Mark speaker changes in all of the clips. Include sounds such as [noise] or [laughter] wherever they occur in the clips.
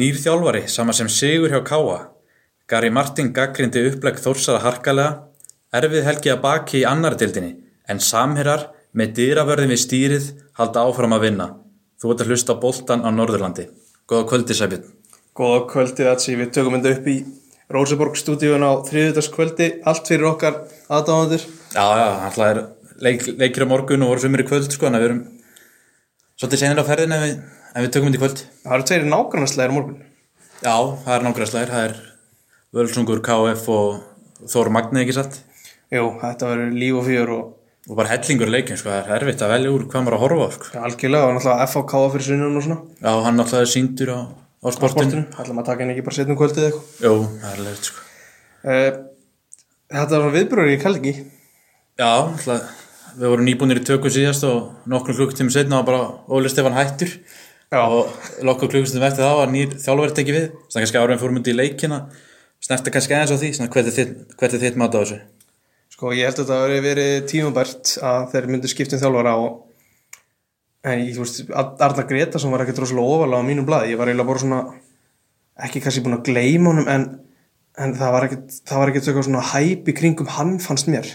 Speaker 1: Nýr þjálfari sama sem sigur hjá KA Gary Martin gaggrindi upplegg Þórsara harkalega Erfið helgi að baki í annar dildinni en samherjar með dýravörðin við stýrið halda áfram að vinna Þú ert að hlusta á boltan á Norðurlandi Góða kvöldi Sæbjörn
Speaker 2: Góða kvöldi Atsi, við tökum þetta upp í Róseborg stúdíun á þriðutaskvöldi, allt fyrir okkar aðdáðandur.
Speaker 1: Já, já, alltaf er leik, leikir á morgun og voru sumir í kvöld sko en við erum svolítið senir á ferðin en við, en við tökum þetta í kvöld
Speaker 2: Það eru tveiri nákvæmastlegar morgun.
Speaker 1: Já, það er nákvæmlega slæðir, það er Völsungur, KF og Þór Magni ekki satt
Speaker 2: Jú, þetta verður líf og fjör og
Speaker 1: og bara hellingur leikin sko, það er erfitt að velja úr hvað maður á að horfa á sko.
Speaker 2: algjörlega og náttúrulega FHK fyrir sunnum og svona.
Speaker 1: Já, hann náttúrulega er síndur á, á sportinu.
Speaker 2: Bortinu, ætlum að taka henni ekki bara setnum kvöldið eða eitthvað.
Speaker 1: Jú, það er leikt sko.
Speaker 2: Uh, þetta var viðbröður í Kalgi.
Speaker 1: Já, alltaf, við vorum nýbúinir í tökum síðast og nokkur klukkutími setna var bara Óli Stefán hættur
Speaker 2: Já.
Speaker 1: og nokkur klukkutími eftir það var nýr þjálfur tekið við, þannig að kannski áraðin fórum undir í leikina, snerta kannski aðeins á því, svona, hvert er þitt, hvert er þitt mat á þessu?
Speaker 2: Sko, ég held að þetta hafi verið tímabært að þeir myndu skiptum þjálfara og en ég, þú veist, Ar- Arnar Gretarsson var ekkert rosalega ofalega á mínum blaði, ég var eiginlega bara svona ekki kannski búin að gleyma honum en, en það var ekkert það var ekkert eitthvað svona hæp í kringum hann fannst mér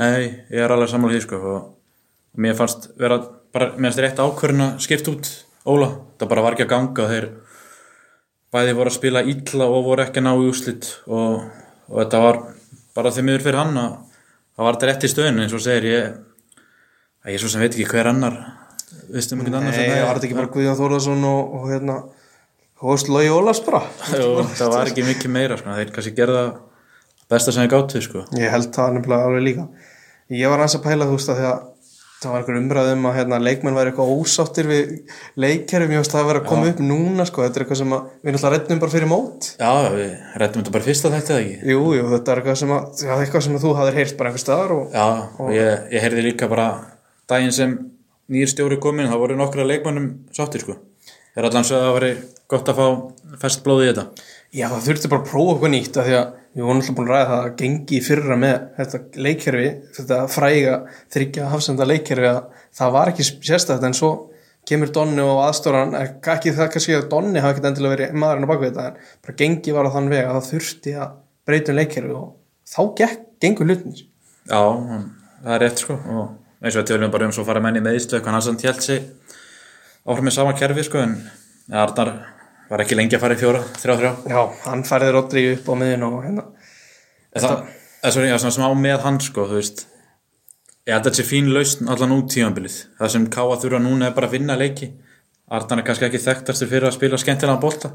Speaker 1: Nei, ég er alveg sammála því sko og og mér fannst vera bara, mér fannst rétt ákvörðin að skipta út Óla, það bara var ekki að ganga þeir bæði voru að spila illa og voru ekki að ná í úslit og, og þetta var bara því miður fyrir hann að það var þetta rétt í stöðin eins og segir ég að ég svo sem veit ekki hver annar viðstum einhvern annar
Speaker 2: Nei, var þetta ekki bara Guðjón Þórðarsson og, og hérna Hóstlói Ólafs bara
Speaker 1: [laughs] Jú, það var ekki mikið meira sko, þeir kannski gerða besta sem þeir gáttu sko
Speaker 2: Ég held það nefnilega alveg líka Ég var aðeins að pæla þú veist að því að það var einhver umræðum að hérna, leikmenn væri eitthvað ósáttir við leikkerfum ég veist að það væri að koma upp núna sko. þetta er eitthvað sem að, við náttúrulega reddum bara fyrir mót
Speaker 1: Já, við rættum þetta bara fyrst að þetta ekki
Speaker 2: Jú, jú, þetta er eitthvað sem, að, já, eitthvað sem að þú hafðir heyrt bara einhver staðar og
Speaker 1: Já, og ég, ég heyrði líka bara daginn sem nýjir stjóri komin þá voru nokkra leikmannum sáttir sko þeir allan sögðu að það væri gott að fá fest blóð í þetta
Speaker 2: já, það þurfti bara að prófa eitthvað nýtt af því að við vorum alltaf búin að ræða það að gengi í fyrra með þetta leikkerfi þetta fræga þryggja hafsenda leikkerfi að það var ekki sérstætt en svo kemur Donni og aðstóran ekki það kannski að Donni hafa ekkert endilega verið maðurinn á bakvið þetta en bara gengi var á þann veg að það þurfti að breytum leikkerfi og þá gekk, gengur hlutin
Speaker 1: Já, hann- það er rétt sko og eins og við tölum bara um svo fara menni með íslu eitthvað hann sann tjált sig áfram með sama kerfi sko en en Arnar var ekki lengi að fara í fjóra, þrjá, þrjá
Speaker 2: já, hann færði Rodri upp á miðin og hérna
Speaker 1: En það, það er svona, já, svona smá með hann sko, þú veist ég held að þetta sé fín lausn allan út tímanbilið það sem Káa þurfa núna er bara að vinna leiki Arnar er kannski ekki þekktastur fyrir að spila skemmtilega bolta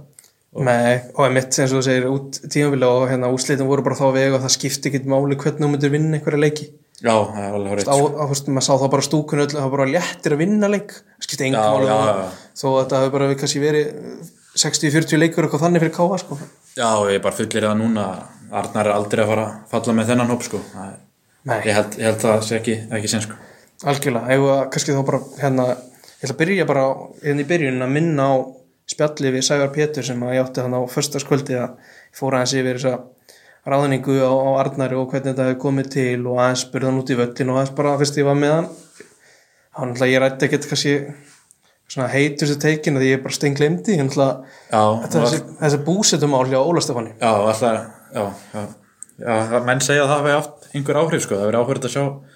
Speaker 2: Nei, og einmitt eins og þú segir út tímabili og hérna úslitin voru bara þá á veg og það skipti ekkert máli hvernig þú myndir vinna einhverja leiki
Speaker 1: já, það er alveg sko.
Speaker 2: á,
Speaker 1: horrið
Speaker 2: á, þú veist, maður sá þá bara stúkun öll það var bara léttir að vinna leik
Speaker 1: Já,
Speaker 2: skipti engum máli
Speaker 1: já,
Speaker 2: þó-
Speaker 1: já.
Speaker 2: þó að þetta hefur bara kannski verið eh, 60-40 leikur eitthvað þannig fyrir káa sko.
Speaker 1: já, ég bara fullir það núna að Arnar er aldrei að fara að falla með þennan hóp sko, Það er-
Speaker 2: Nei,
Speaker 1: ég held, ég held það sé ekki, ekki sen sko
Speaker 2: algjörlega, eigum við að kannski þá bara hérna, ég ætla að byrja bara á- hérna í byrjun að minna á spjalli við Sævar Pétur sem að ég átti hann á förstaskvöldi að ég fór aðeins yfir þess að ráðningu á, á Arnari og hvernig þetta hefði komið til og aðeins spurði hann út í völlin og aðeins bara fyrst ég var með hann þá náttúrulega ég rætti ekkert kannski svona heitustu teikin að ég bara steinglemdi, ég náttúrulega
Speaker 1: já,
Speaker 2: Þetta er
Speaker 1: og-
Speaker 2: þessi, þessi búsetum áli á Óla Stefáni
Speaker 1: já, alltaf já, já, já, það- menn segja að það hafi haft einhver áhrif sko, það verið áhverjum að sjá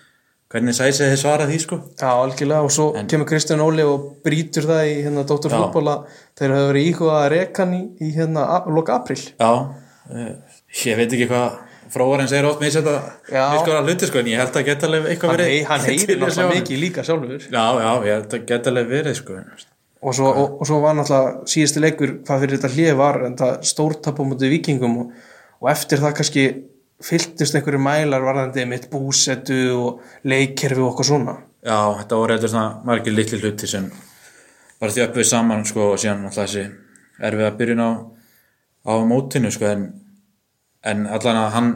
Speaker 1: hvernig sæsið þið svara því sko
Speaker 2: Já, algjörlega og svo kemur Kristján Óli og brýtur það í hérna Dóttur fútbola þeir hafa verið íhuga að reka hann í, í hérna a- loka april
Speaker 1: Já, eh, ég veit ekki hvað fróðarinn segir oft með þetta
Speaker 2: Já.
Speaker 1: miskora hluti sko, en ég held að geta alveg eitthvað
Speaker 2: hann,
Speaker 1: verið
Speaker 2: hei, hann
Speaker 1: til
Speaker 2: heyrir
Speaker 1: í
Speaker 2: náttúrulega
Speaker 1: sjónum.
Speaker 2: mikið líka sjálfur
Speaker 1: Já, já, ég held að geta alveg verið sko
Speaker 2: og svo, og, og svo var náttúrulega síðasti leikur hvað fyrir þetta hlið var en það stórtap á mútið vikingum og, og eftir það kannski fylltust einhverju mælar varðandi mitt búsetu og leikkerfi og okkur svona
Speaker 1: Já, þetta voru eitthvað svona margir litli hluti sem var þjöppuð saman sko og síðan alltaf þessi erfið að byrjun á, á mótinu sko en, en allan að hann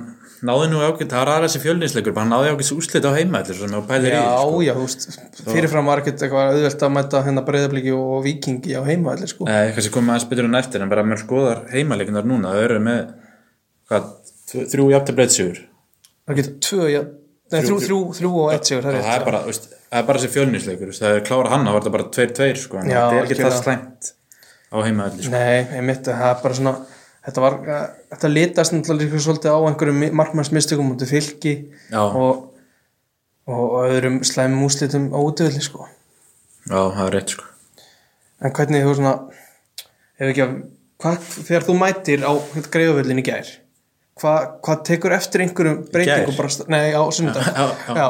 Speaker 1: náði nú ágætt, það er aðra þessi fjölninsleikur bara hann náði ágætt úrslit á heima allir sem ég pælir
Speaker 2: Já,
Speaker 1: í sko.
Speaker 2: já, þú veist, fyrirfram var ekkert eitthvað auðvelt að mæta hérna breyðabliki og vikingi á heimaðli, sko.
Speaker 1: Nei, kannski komið aðeins betur en eftir en bara mér skoðar heimaleikunar núna það eru með hvað, þrjú- þrjú jafntabreitsigur
Speaker 2: Það getur tvö, já, nei, þrjú, þrjú, þrjú og eitt sigur, það er
Speaker 1: það
Speaker 2: rétt.
Speaker 1: er bara, veist, það er bara þessi fjölnisleikur veist, það er klára hann, það var þetta bara tveir tveir sko, en
Speaker 2: Já,
Speaker 1: þetta er ekki
Speaker 2: algjörlega.
Speaker 1: það slæmt á heimaðalli sko.
Speaker 2: Nei, einmitt, það er bara svona þetta, var, eh, þetta litast náttúrulega líka svolítið á einhverjum markmannsmistökum út í fylki
Speaker 1: Já.
Speaker 2: og, og öðrum slæmum úslitum á útivilli sko.
Speaker 1: Já, það er rétt sko.
Speaker 2: En hvernig þú svona ef ekki að, hvað, þegar þú mætir á greiðuvillin í gær hvað, hvað tekur eftir einhverjum breytingu
Speaker 1: gær?
Speaker 2: bara, sta- nei, á sundag
Speaker 1: Já, já.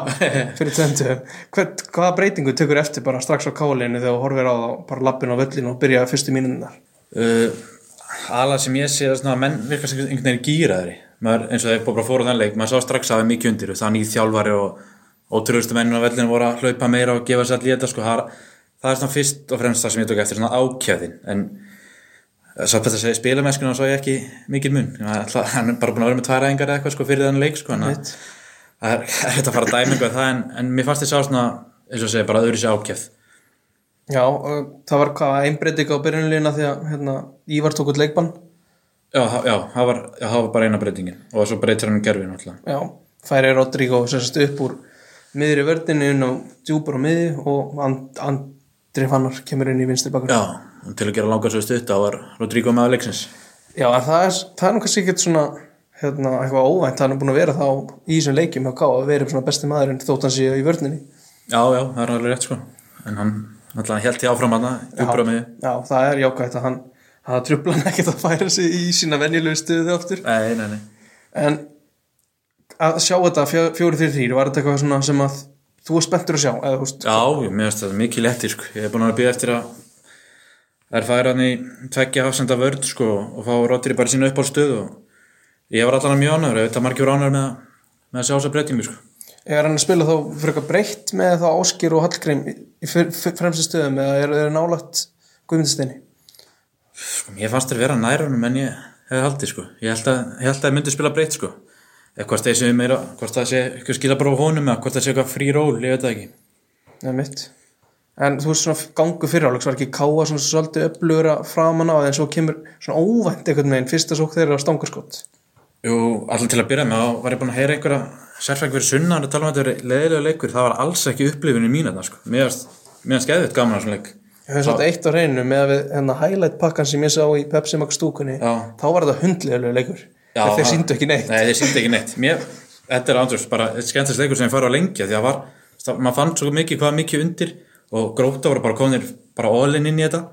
Speaker 2: fyrir tvöndu Hvern, hvaða breytingu tekur eftir bara strax á kálinu þegar þú horfir á það bara lappin á völlin og byrja fyrstu mínunar
Speaker 1: uh, Alla sem ég sé er svona að menn virkar sem einhvern veginn gýraðri maður, eins og þeir bara fóru á þann leik maður sá strax að það er mikið undir það er nýð þjálfari og ótrúðustu mennum á vellinu voru að hlaupa meira og gefa sér allir þetta sko, það, er- það er svona fyrst og fremst það sem ég tók eftir svona ákjæðin en satt þetta að segja spilamennskuna svo ég ekki mikil mun alltaf, hann er bara búin að vera með tvær æfingar eða eitthvað sko, fyrir þann leik sko, hann að- það er [laughs] það er hægt að fara að dæma eitthvað það en, en mér fannst ég sá svona eins og segja bara öðru sér ákjæð
Speaker 2: Já, og það var hvað einbreyting á byrjunlína því að hérna, Ívar tók út leikbann
Speaker 1: já, það- já, það var, já, það var bara eina breytingin og svo breytir hann um gerfin alltaf
Speaker 2: Já, færi Rodrigo sem sagt upp úr miðri vördinu inn á djúpar á miði og And Andri Fannar kemur inn í vinstri bakur
Speaker 1: Já, og til að gera langar svo stutt þá var Rodrigo með að leiksins
Speaker 2: en það er, það er nú kannski ekkert svona hérna, eitthvað óvænt, hann er búin að vera þá í þessum leikjum hjá K að vera svona besti maðurinn þótt hann sé í vördninni
Speaker 1: Já, já, það er alveg rétt sko En hann alltaf held því áfram hana Júbramiði
Speaker 2: Já, það er jákvæmt að hann það trubla hann ekkert að færa sig í sína venjulegu stuðu aftur
Speaker 1: Nei, nei, nei
Speaker 2: En að sjá þetta 4-3-3 var þetta eitthvað svona sem að þú er spenntur að sjá eða, þú veist,
Speaker 1: Já, ég mér finnst þetta mikið lettir sko Ég er búin að býða eftir að Það er færa hann í tveggja hafsenda vörð sko og fá Rodri bara í sína upp á stuð og ég var allan mjög ánægur auðvitað margir ánægur með, að- með að sjá þess að breytingu sko
Speaker 2: er hann að spila þá fyrir eitthvað breytt með þá Áskir og Hallgrím í í fyr- fyr- fremstu stöðum eða er það nálægt Guðmundstinni
Speaker 1: Ég fannst þér vera nærunum en ég hefði haldið sko. Ég held að, ég held að ég myndi spila breytt sko. Eða hvort það sé meira, hvort það sé eitthvað skila bara á honum eða hvort það sé eitthvað frí ról, ég veit það ekki.
Speaker 2: eða mitt en þú veist svona gangu fyrir áleiks var ekki káa svona svolítið upplöra framan á en svo kemur svona óvænt einhvern veginn fyrsta sók þeirra á stangarskott
Speaker 1: Jú, alltaf til að byrja með, þá var ég búin að heyra einhverja sérfæk fyrir sunna og tala um að þetta er leðilega leikur. Það var alls ekki upplifinu mín þarna sko. Mér finnst geðvitt gaman að svona leik.
Speaker 2: ég hef svolítið eitt á reynu með að við hennar highlight pakkan sem ég sá í Pepsi Max stúkunni
Speaker 1: Já.
Speaker 2: þá var þetta hundlega leikur þegar þeir
Speaker 1: það-
Speaker 2: síndu ekki neitt
Speaker 1: Nei, þeir síndu ekki neitt. Mér, þetta er ándröfs, bara skemmtast leikur sem ég fara á lengi af því að var, það- maður fann svo mikið hvað mikið undir og gróta voru bara konir bara ólinn inn í þetta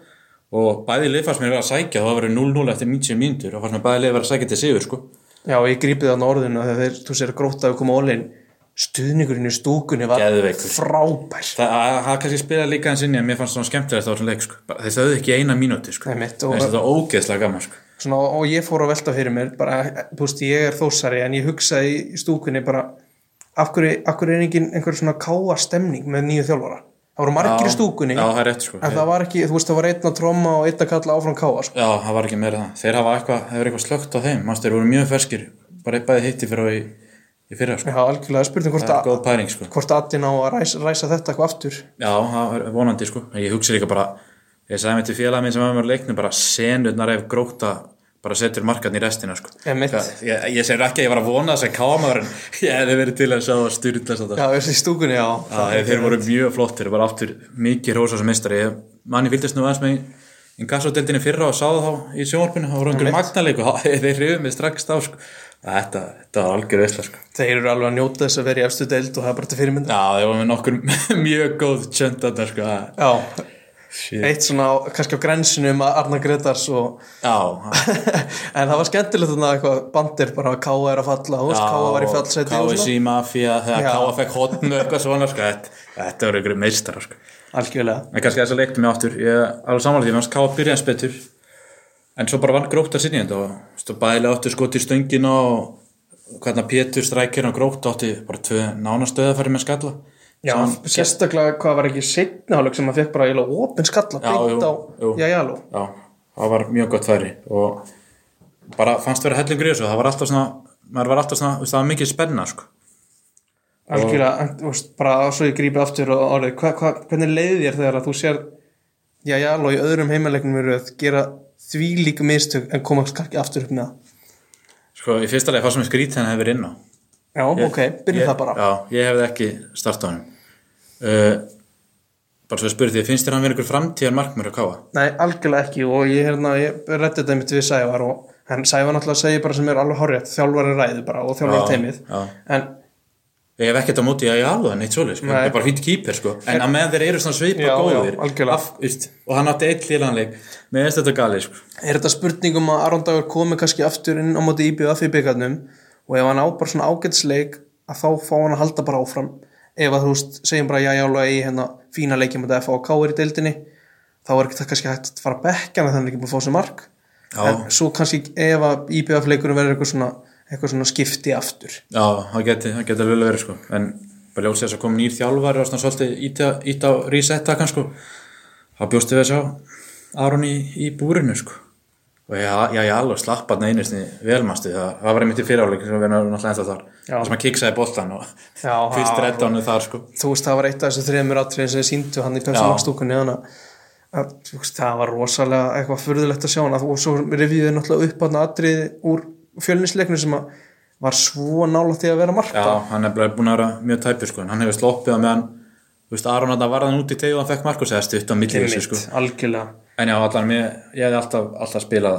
Speaker 1: og bæði lið fannst mér vera að sækja það var verið 0-0 eftir 90 mínútur og fannst mér bæði lið vera að sækja til sigur sko.
Speaker 2: Já, og ég grípið þannig orðinu þegar þeir, þú sér að gróta að koma ólinn stuðningurinn í stúkunni var
Speaker 1: Geðveikur.
Speaker 2: frábær
Speaker 1: Það það- það kannski spila líka eins inn í að mér fannst svona skemmtilegt á þessum leik sko. Bara- Þeir þauðu ekki í eina mínúti sko.
Speaker 2: Nei,
Speaker 1: Mér
Speaker 2: mitt,
Speaker 1: finnst
Speaker 2: og-
Speaker 1: þetta ógeðslega gaman sko.
Speaker 2: Svona, og ég fór að velta fyrir mér bara, þú veist, ég er þósari en ég hugsaði í- í stúkunni bara af hverju, af hverju er engin einhver svona káa stemning með nýju þjálfara það voru margir í stúkunni Ah.
Speaker 1: Já, það er rétt sko.
Speaker 2: en það var ekki, þú veist, það var einn að tromma og einn að kalla áfram káa sko.
Speaker 1: Já, það var ekki meira það. Þeir hafa eitthvað, hefur eitthvað slögt á þeim. Manstu, þeir voru mjög ferskir. Bara eitt bæði hitti fyrir á í, í fyrra sko.
Speaker 2: Já, algjörlega spurning hvort, að,
Speaker 1: góð pæling sko
Speaker 2: hvort aðin á að ræsa, ræsa þetta eitthvað aftur
Speaker 1: já, það er vonandi sko En ég hugsi líka bara, ég sagði mér til félagin minn sem var með leiknum bara senurnar ef gróta bara setur markarn í restina sko
Speaker 2: Einmitt.
Speaker 1: Það- ég, ég segir ekki að ég var að vona þess að káma en [laughs] ég hefði verið til að sjá það styrlast þetta
Speaker 2: Já, þessi í stúkunni, já, já.
Speaker 1: Já, þeir voru mjög flottir, bara aftur mikið rósa sem mistari. Ég, manni fylgdist nú aðeins með ingassodeldinni fyrra og sáðu þá í sjónvarpinu, þá voru einhverjum magnaleik og [laughs] þeir hrifum mig strax þá sko. Þetta, þetta var algjör veistla sko.
Speaker 2: þeir eru alveg að njóta þess að vera í efstu deild og það er bara til fyrirmynd
Speaker 1: Já, þeir voru með nokkur [laughs] mjög góð tjöndarnar sko.
Speaker 2: Já,
Speaker 1: Shit.
Speaker 2: eitt svona á- kannski á grensinu um Arna Gretars og
Speaker 1: Já,
Speaker 2: [laughs] en það var skemmtilegt þannig að eitthvað bandir bara að Káa er að falla þú veist, Káa var í fallseti og svona
Speaker 1: KSI Mafia,
Speaker 2: Já.
Speaker 1: þegar Káa fekk hotnu eitthvað svona, sko, þetta, þetta voru ykkur meistar sko.
Speaker 2: algjörlega,
Speaker 1: en kannski þess að leikta mig aftur ég er alveg samanlega því, mér fannst Káa byrja eins betur en svo bara vann gróta sinni þetta og stu, bæðilega áttu skoti í stöngina og hvernig Pétur strækir og gróta átti bara tvö nánastöða færi með skalla
Speaker 2: já,
Speaker 1: Saman-
Speaker 2: sérstaklega hvað var ekki seinna hálfleik sem að fekk bara eiginlega opin skalla
Speaker 1: jú,
Speaker 2: beint á
Speaker 1: jú.
Speaker 2: Jæjaló
Speaker 1: já, það var mjög gott færi og bara fannst vera hellingur í þessu það var alltaf svona, maður var alltaf svona þú veist, það var mikið spenna sko.
Speaker 2: algjörlega, en, þú veist, bara svo ég grípi aftur og orðið, hva, hva, hvernig leiði þér þegar að þú sér Jæjaló í öðrum heimaleiknum eru að gera því líka mistök en koma kannski aftur upp með það
Speaker 1: sko, í fyrsta leið fannst mér skrítið hann hefur inn á
Speaker 2: já, ok, byrjum
Speaker 1: Ég-
Speaker 2: það bara
Speaker 1: Já, ég hefði ekki startað hann uh, bara svo ég spurði því, finnst þér hann verið einhver framtíðar markmur að káa?
Speaker 2: Nei, algjörlega ekki og ég, hérna, ég rætti þetta mitt við Sævar og hann Sævar náttúrulega segir bara sem er alveg horrið þjálfari ræðu bara og þjálfari teimið
Speaker 1: já.
Speaker 2: en
Speaker 1: Ég hef ekkert á móti að ég alveg hann eitt svoleið, sko.
Speaker 2: Nei.
Speaker 1: Það er bara fýtt kýper, sko. En að meðan þeir eru svona svipa
Speaker 2: Já, já,
Speaker 1: góðir.
Speaker 2: algjörlega.
Speaker 1: af- veist, og hann átti eitt lílanleik. Mér finnst þetta galið, sko.
Speaker 2: er þetta spurning um að Aron Dagur komi kannski aftur inn á móti íbjöða fyrir byggarnum og ef hann á bara svona ágætsleik að þá fá hann að halda bara áfram ef að þú veist, segjum bara já, já, alveg í hérna fína leikjum að FA og K er í deildinni þá er það kannski hægt að fara að bekka hann þannig ekki búin að fá sér mark
Speaker 1: Já.
Speaker 2: en svo kannski ef að íbjöða leikurinn verður eitthvað svona, eitthvað svona skipti aftur
Speaker 1: Já, það geti, það geti alveg verið, sko. En bara ljósið þess að koma nýr þjálfari og svona svolítið íta, íta á resetta, kannski. Það bjóstu við að sjá Aron í, í búrinu, sko. Og já, já, já, alveg slappa hann einisni velmastu. Það, það var einmitt í fyriráleik sem við erum náttúrulega ennþá þar.
Speaker 2: Já.
Speaker 1: Það sem að kiksaði boltan og
Speaker 2: Já,
Speaker 1: fyrst
Speaker 2: það-
Speaker 1: redda hann þar, sko.
Speaker 2: þú veist það var eitt af þessu þreymur atriðin sem þið síndu hann í
Speaker 1: Já.
Speaker 2: pepsamakstúkunni þannig að- að þú veist, það var rosalega eitthvað furðulegt að sjá hann og svo reviðið náttúrulega upp hann atrið úr fjölnisleiknum sem að var svo nála því að vera mark
Speaker 1: Já, hann er bara búin að vera mjög tæpur sko, en hann hefur sloppið á meðan, þú veist, Aron að það varðan út í tegi og hann fekk Markus eða stutt á milli þessu sko.
Speaker 2: algjörlega
Speaker 1: En já, allan, mér, ég hefði alltaf, alltaf spilað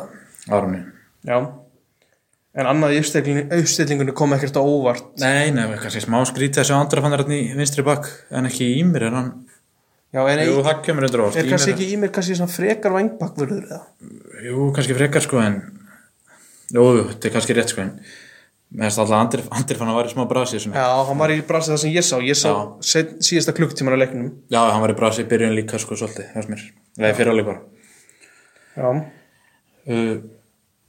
Speaker 1: Aroni.
Speaker 2: já. en annað í uppstillingu- uppstillingunni kom ekkert á óvart
Speaker 1: Nei, nei, kannski smá skrítið þessu andra fann þarna í vinstri bakk, en ekki í mér, en hann,
Speaker 2: já, en
Speaker 1: jú,
Speaker 2: jú,
Speaker 1: það kemur undir orð.
Speaker 2: er kannski ekki í mér kannski svona frekar vangbakvörður eða
Speaker 1: Jú, kannski frekar sko, en, jú, jú, þetta er kannski rétt sko, en, mér finnst alltaf andri, andri fann að væri smá brasið svona.
Speaker 2: já, hann var í brasið það sem ég sá ég sá
Speaker 1: Já.
Speaker 2: set, síðasta klukktíman á leiknum
Speaker 1: Já, hann var í brasið í byrjun líka sko, svolítið, það sem er, eða fyrir alveg bara.
Speaker 2: já
Speaker 1: Uh,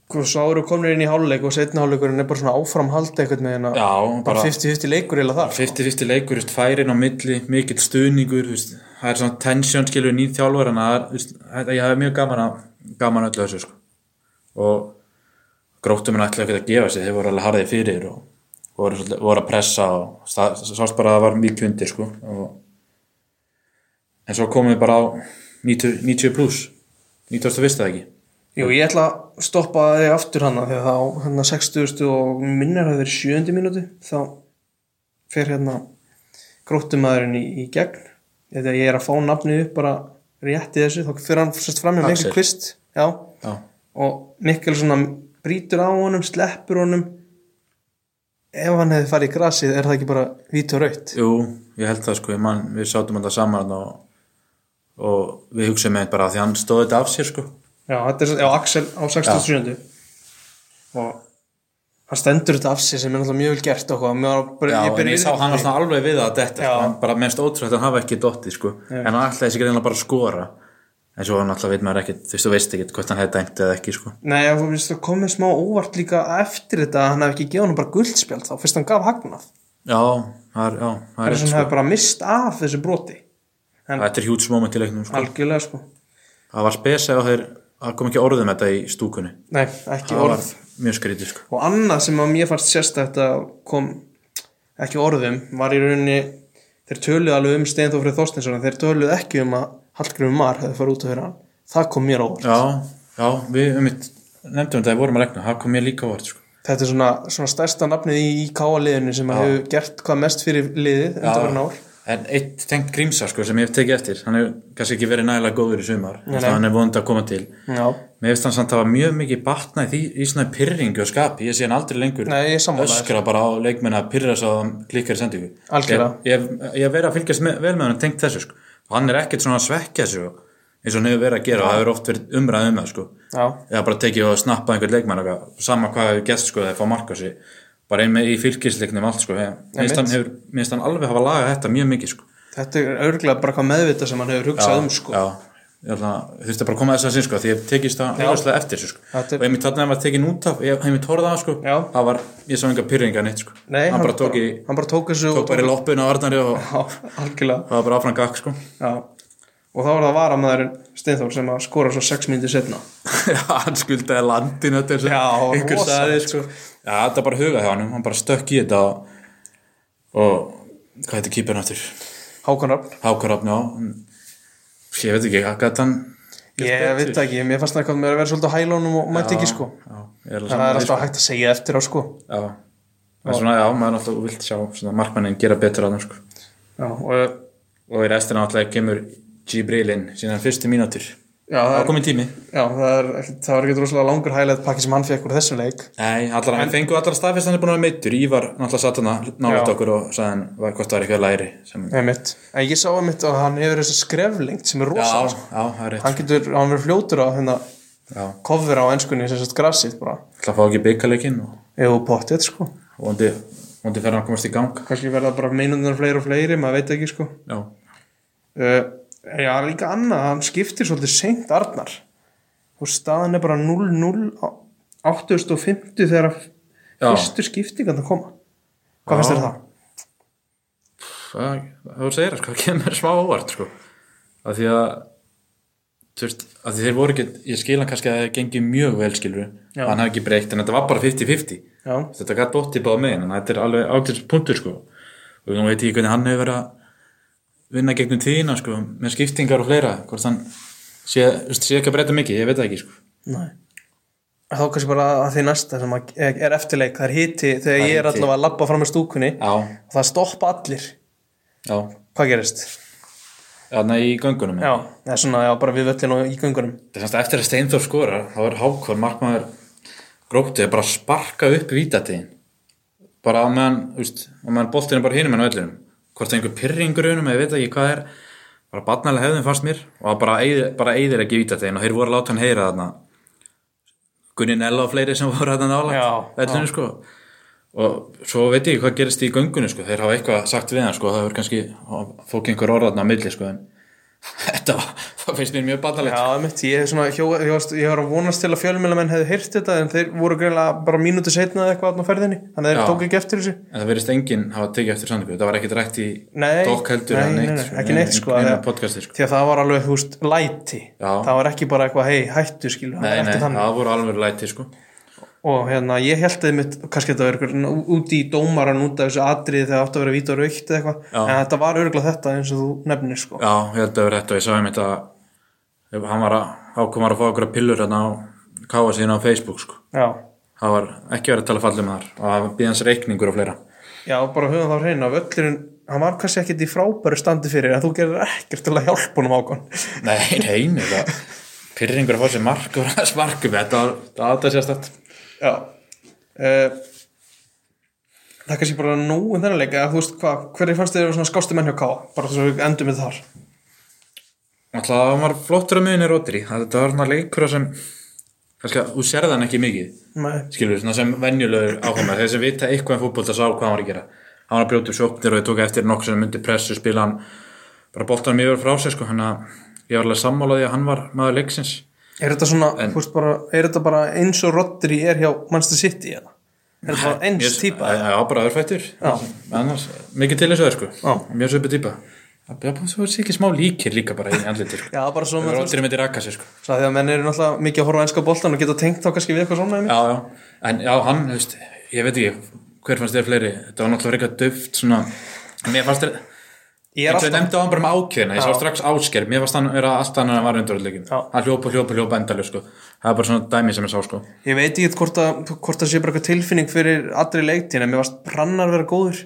Speaker 2: og Sko, svo eru komnir inn í háluleik og setna háluleikurinn er bara svona áframhald eitthvað með hérna
Speaker 1: já,
Speaker 2: bara 50-50 leikur eða það
Speaker 1: 50-50 leikur, þú veist, færin á milli, mikill stuðningur, þú veist, það er svona tension skilur nýð þjálfur en það er, þú veist, þetta- ég hef mjög gaman að, gaman að öllu þessu, sko. Og gróttum er ætlaði ekkert að gefa sig, þeir voru alveg harðið fyrir og voru, svolítið- voru að pressa og stað- sást bara að það var mikið undir, sko. Og, en svo komum við bara á 90, 90 pluss, 91. eða ekki.
Speaker 2: Jú, ég ætla að stoppa þig aftur hana þegar þá hérna 60 og minnar að það er 7. mínúti þá fer hérna gróttumæðurinn í, í gegn þegar ég er að fá nafnið upp bara rétt í þessu þá fyrir hann sérst fram með
Speaker 1: Axel.
Speaker 2: Mikkel Kvist já,
Speaker 1: Já,
Speaker 2: og Mikkel svona brýtur á honum, sleppur honum ef hann hefði farið í grasið er það ekki bara vít og raut
Speaker 1: Jú, ég held það sko, ég man, við sátum þetta saman og, og við hugsaum með bara að því hann stóði þetta af sér sko.
Speaker 2: Já, þetta er, já, Axel á 67. Og hann stendur þetta af sér sem er náttúrulega mjög vel gert og hvað. Mér var bara,
Speaker 1: Já,
Speaker 2: ég
Speaker 1: en
Speaker 2: byrja
Speaker 1: ég sá hann var svona alveg við að detta
Speaker 2: Já.
Speaker 1: sko. hann bara mennst ótrúlega að hann hafa ekki dottið sko. en hann ætlaði sér greinlega bara að skora en svo hann alltaf veit maður ekkert, þú veist þú veist ekkert hvort hann hefði dæmt eða ekki sko.
Speaker 2: Nei, já, þú veist, það komið smá óvart líka eftir þetta að hann hef ekki gefið hann bara guldspjald þá, fyrst hann gaf hagnað.
Speaker 1: Já, það er, já, það
Speaker 2: Það
Speaker 1: er
Speaker 2: er
Speaker 1: rétt,
Speaker 2: svona
Speaker 1: sko.
Speaker 2: hann hef bara mist af þessu broti.
Speaker 1: Þetta er hjúts moment í leiknum sko.
Speaker 2: Algjörlega, sko.
Speaker 1: Það var spesa á þeir að kom ekki orðum þetta í stúkunni
Speaker 2: Nei, ekki
Speaker 1: Það
Speaker 2: orð.
Speaker 1: var mjög skrítið sko.
Speaker 2: Og annað sem að mér fannst sérstætt að kom ekki orðum var í rauninni, þeir töluðu alveg um Steindófrið Þorstinsson en þeir töluðu ekki um að Hallgrimur Mar hefði farið út að höra hann. Það kom mér á óvart.
Speaker 1: Já, já, við um mitt nefndum þetta, við vorum að leikna, það kom mér líka á orð sko.
Speaker 2: Þetta er svona, svona stærsta nafnið í, í káaliðinu sem að hefur gert hvað mest fyrir liðið undanverðin ár.
Speaker 1: En eitt tengt grímsa sko, sem ég hef tekið eftir, hann hefur kannski ekki verið nægilega góður í sumar,
Speaker 2: Nei, nei.
Speaker 1: þannig að hann er vond að koma til
Speaker 2: Já.
Speaker 1: Mér finnst hann samt að hafa mjög mikið batna í, því, í svona pyrringu og skapi, ég sé hann aldrei lengur
Speaker 2: Nei, ég er sammála þér.
Speaker 1: öskra bara á leikmenn að pyrra svo að hann klikkar í sendingu.
Speaker 2: Algjörlega.
Speaker 1: Ég, ég, ég hef verið að fylgjast með, vel með hann tengt þessu sko. Og hann er ekkert svona að svekja þessu eins og hann hefur verið að gera og það hefur oft verið umræð um það sko.
Speaker 2: Já.
Speaker 1: Eða bara tekið og snappað einhvern leikmenn og eitthvað, sama hvað hefur gest sko þegar fá marka sig. Bara einn með í fylgisleiknum allt sko. Ég, mér finnst hann, hefur- mér finnst hann alveg hafa lagað þetta mjög mikið sko.
Speaker 2: Þetta er örglega bara hvað meðvita sem hann hefur hugsað um sko.
Speaker 1: Já, ég ætla að þurfti bara að koma þess að sinn sko því ég tekist það hljóðslega eftir þessu sko
Speaker 2: Þetta er-
Speaker 1: og einmitt þarna var tekin út af, ég hef mér tórað af sko
Speaker 2: Já.
Speaker 1: það var, ég sá enga pyrringa neitt sko
Speaker 2: Nei,
Speaker 1: hann bara tók í,
Speaker 2: hann bara tók þessu
Speaker 1: tók bara í loppun á Arnari og
Speaker 2: og... [laughs] Já, algjörlega.
Speaker 1: það var bara áfram gakk sko [laughs]
Speaker 2: Já. Og þá var það varamæðurinn Steinþór sem að skora svo 6 mínútur setna.
Speaker 1: Já, hann skuldaði landinu þetta er svo-
Speaker 2: Já,
Speaker 1: einhver
Speaker 2: rosalegt,
Speaker 1: sagði sko Já, þetta er bara hugað hjá hann, hann bara stökk í þetta og, og hvað heitir kýpirinn aftur?
Speaker 2: Hákon Rapp.
Speaker 1: Hákarafn, já hann- ég veit ekki, hvað gæti hann
Speaker 2: Ég veit það ekki, mér fannst það eitthvað með að vera svolítið á hælónum og mætti ekki sko.
Speaker 1: Já, ég er
Speaker 2: En það er alltaf hægt að segja eftir á sko.
Speaker 1: Já, það er svona, já, maður er alltaf vilt sjá svona markmannin gera betur að hann, sko.
Speaker 2: Já, og
Speaker 1: Og í restina alltaf kemur Gibrilin síðan fyrstu mínútur
Speaker 2: Já,
Speaker 1: Það
Speaker 2: það er,
Speaker 1: var komið tími
Speaker 2: já, það er ekkert, það var ekkert rosalega langur hægilegt pakki sem hann fekk úr þessum leik.
Speaker 1: Nei, allar, en fengu allar staðfest hann er búin að vera meittur Ívar náttúrulega satt hann nálægt
Speaker 2: Já.
Speaker 1: okkur og sagði hann var- hvort það var eitthvað læri sem...
Speaker 2: Nei, mitt. En ég sá að mitt að hann hefur þessa skreflengt sem er
Speaker 1: Já,
Speaker 2: rosalega.
Speaker 1: já, það er rétt
Speaker 2: Hann getur, hann verður fljótur á hérna
Speaker 1: Já,
Speaker 2: cover á ennskunni sem sagt grassið bara.
Speaker 1: ætla að fá ekki byggaleikin og
Speaker 2: Jú, pottið, sko.
Speaker 1: vondi, vondi fer hann að komast í gang
Speaker 2: Kanski verða bara meinundunar fleiri og fleiri, maður veit ekki, sko.
Speaker 1: Já,
Speaker 2: Uh, já, líka annað, hann skiptir svolítið seint Arnar og staðan er bara 0-0 á 850 þegar að
Speaker 1: Já.
Speaker 2: fyrstu skiptingan það koma hvað finnst þér um það?
Speaker 1: það þú segir það sko, [laughs] það kemur mér smá óvart sko. af því að þú veist, af því þeir voru ekki ég skil hann kannski að það gengi mjög vel skilur
Speaker 2: Já.
Speaker 1: hann hafði ekki breykt, en þetta var bara 50-50
Speaker 2: Já,
Speaker 1: þetta gæti dotti báð megin, en þetta er alveg ágætis punktur sko, og nú veit ég hvernig hann hefur verið að vinna gegnum tíðina sko, með skiptingar og fleira hvort hann sé, þú veist, sé ekki að breyta mikið ég veit það ekki sko,
Speaker 2: nei þá kannski bara að því næsta sem að- er eftirleik það er hiti þegar ég er
Speaker 1: hiti.
Speaker 2: allavega að labba fram með stúkunni
Speaker 1: já,
Speaker 2: og það stoppa allir
Speaker 1: já
Speaker 2: hvað gerist?
Speaker 1: þarna í göngunum
Speaker 2: Já, það er svona já, bara við völlin og í göngunum
Speaker 1: Það er semst eftir að Steinþór skorar þá er Hákon markmaður gróttu bara að sparka upp vítategin bara á meðan, þú veist, á meðan boltin er bara hinum en öllum hvort það er einhver pyrringur unum eða ég veit ekki hvað er bara barnalega hefðum fannst mér og það bara, eyðir- bara eyðir ekki vítategin og þeir voru að láta hann heyra þarna Gunni Nella og fleiri sem voru þarna
Speaker 2: Já,
Speaker 1: nálægt vellinu sko og svo veit ég ekki hvað gerist í göngunum sko, þeir hafa eitthvað sagt við hann sko, það verður kannski fók einhver orðarna á milli sko en [laughs] þetta var, það finnst mér mjög barnalegt
Speaker 2: Já, mitt, ég hef svona, hjó, ég, varst, ég var að vonast til að fjölmjölamenn hefði heyrt þetta en þeir voru greinlega bara mínútu setna eða eitthvað á ferðinni, þannig að
Speaker 1: Já.
Speaker 2: þeir tók ekki eftir þessu
Speaker 1: En það verðist enginn hafa tekið eftir samningu, það var ekkert rætt í
Speaker 2: Nei,
Speaker 1: dokk heldur eða
Speaker 2: nei, nei, nei,
Speaker 1: sko,
Speaker 2: ekki neitt, sko,
Speaker 1: neina
Speaker 2: þegar-
Speaker 1: podcasti sko.
Speaker 2: því að það var alveg, þú veist, læti
Speaker 1: Já.
Speaker 2: það var ekki bara eitthvað, hei, hættu skilur
Speaker 1: Nei, nei,
Speaker 2: nei,
Speaker 1: það voru alveg læti sko.
Speaker 2: og hérna, ég held að mitt kannski þetta var eitthvað úti í dómaran út af þessu atriði þegar átt að vera vít og raukt eða
Speaker 1: Já.
Speaker 2: eitthvað en þetta var örgulega þetta eins og þú nefnir sko.
Speaker 1: Já, ég held að það verði rétt og ég sá einmitt að ef hann var að ákomar að fá okkur pillur hérna á káa síðan á Facebook sko.
Speaker 2: já.
Speaker 1: Það var ekki verið að tala fallið með þar og það býði hans reikningur og fleira. [laughs]
Speaker 2: já, bara höfum þá hreina völlurinn, hann var kannski ekkit í frábæru standi fyrir en þú gerir ekkert til að hjálpa honum ákvæm
Speaker 1: Nei, nei, nei, það pyrringur að fá sér mark og ræðs markum, þetta var þetta sést að
Speaker 2: já uh, það er kannski bara um nógu þennanleika, þú veist hvað, hverju fannst þér svona skástu menn hjá K.A. bara þess að við endum við þar
Speaker 1: Alltaf hann var flottur að miðinni rótri, þetta var hann leikur sem, kannski að þú sérði hann ekki mikið.
Speaker 2: Nei.
Speaker 1: skilur, svona sem venjulegur áhuga þeir sem vita eitthvað um fútbolta sá hvað hann var að gera hann var að brjóta upp sjóknir og ég tók eftir nokkuð sem myndi pressu spila hann bara boltanum yfir frá sér sko, hann að ég var alveg sammálaði að hann var maður leiksins
Speaker 2: Er þetta svona, þú veist bara, er þetta bara eins og Rodri er hjá Manchester City eða? Er þetta bara eins
Speaker 1: Ég-
Speaker 2: típa?
Speaker 1: Já, já, bara örfættur annars, mikið til þessu sko.
Speaker 2: Já.
Speaker 1: mjög söpu típa það bjá, þú veist ekki smá líkir líka bara í andliti sko.
Speaker 2: Já, bara svona, þú veist,
Speaker 1: Róttir myndi raka sér sko.
Speaker 2: svona því að menn eru náttúrulega mikið að horfa á ennska boltan og geta tengt þá kannski við eitthvað svona einmitt.
Speaker 1: já, já, en já, hann, þú veist ég veit ekki, hver fannst þér fleiri þetta var náttúrulega eitthvað döft svona, mér fannst þér
Speaker 2: Ég er
Speaker 1: Ég
Speaker 2: alltaf,
Speaker 1: nefndi á hann bara með ákveðina, ég sá strax ásker Mér varst hann vera allt annað en hann var undur öllleikin
Speaker 2: Já.
Speaker 1: Hann hljópa, hljópa, hljópa endalur sko Það er bara svona dæmi sem ég sá sko
Speaker 2: ég veit ekki hvort að, hvort að sé bara eitthvað tilfinning fyrir allri leiktíðin en mér varst brannar vera góður.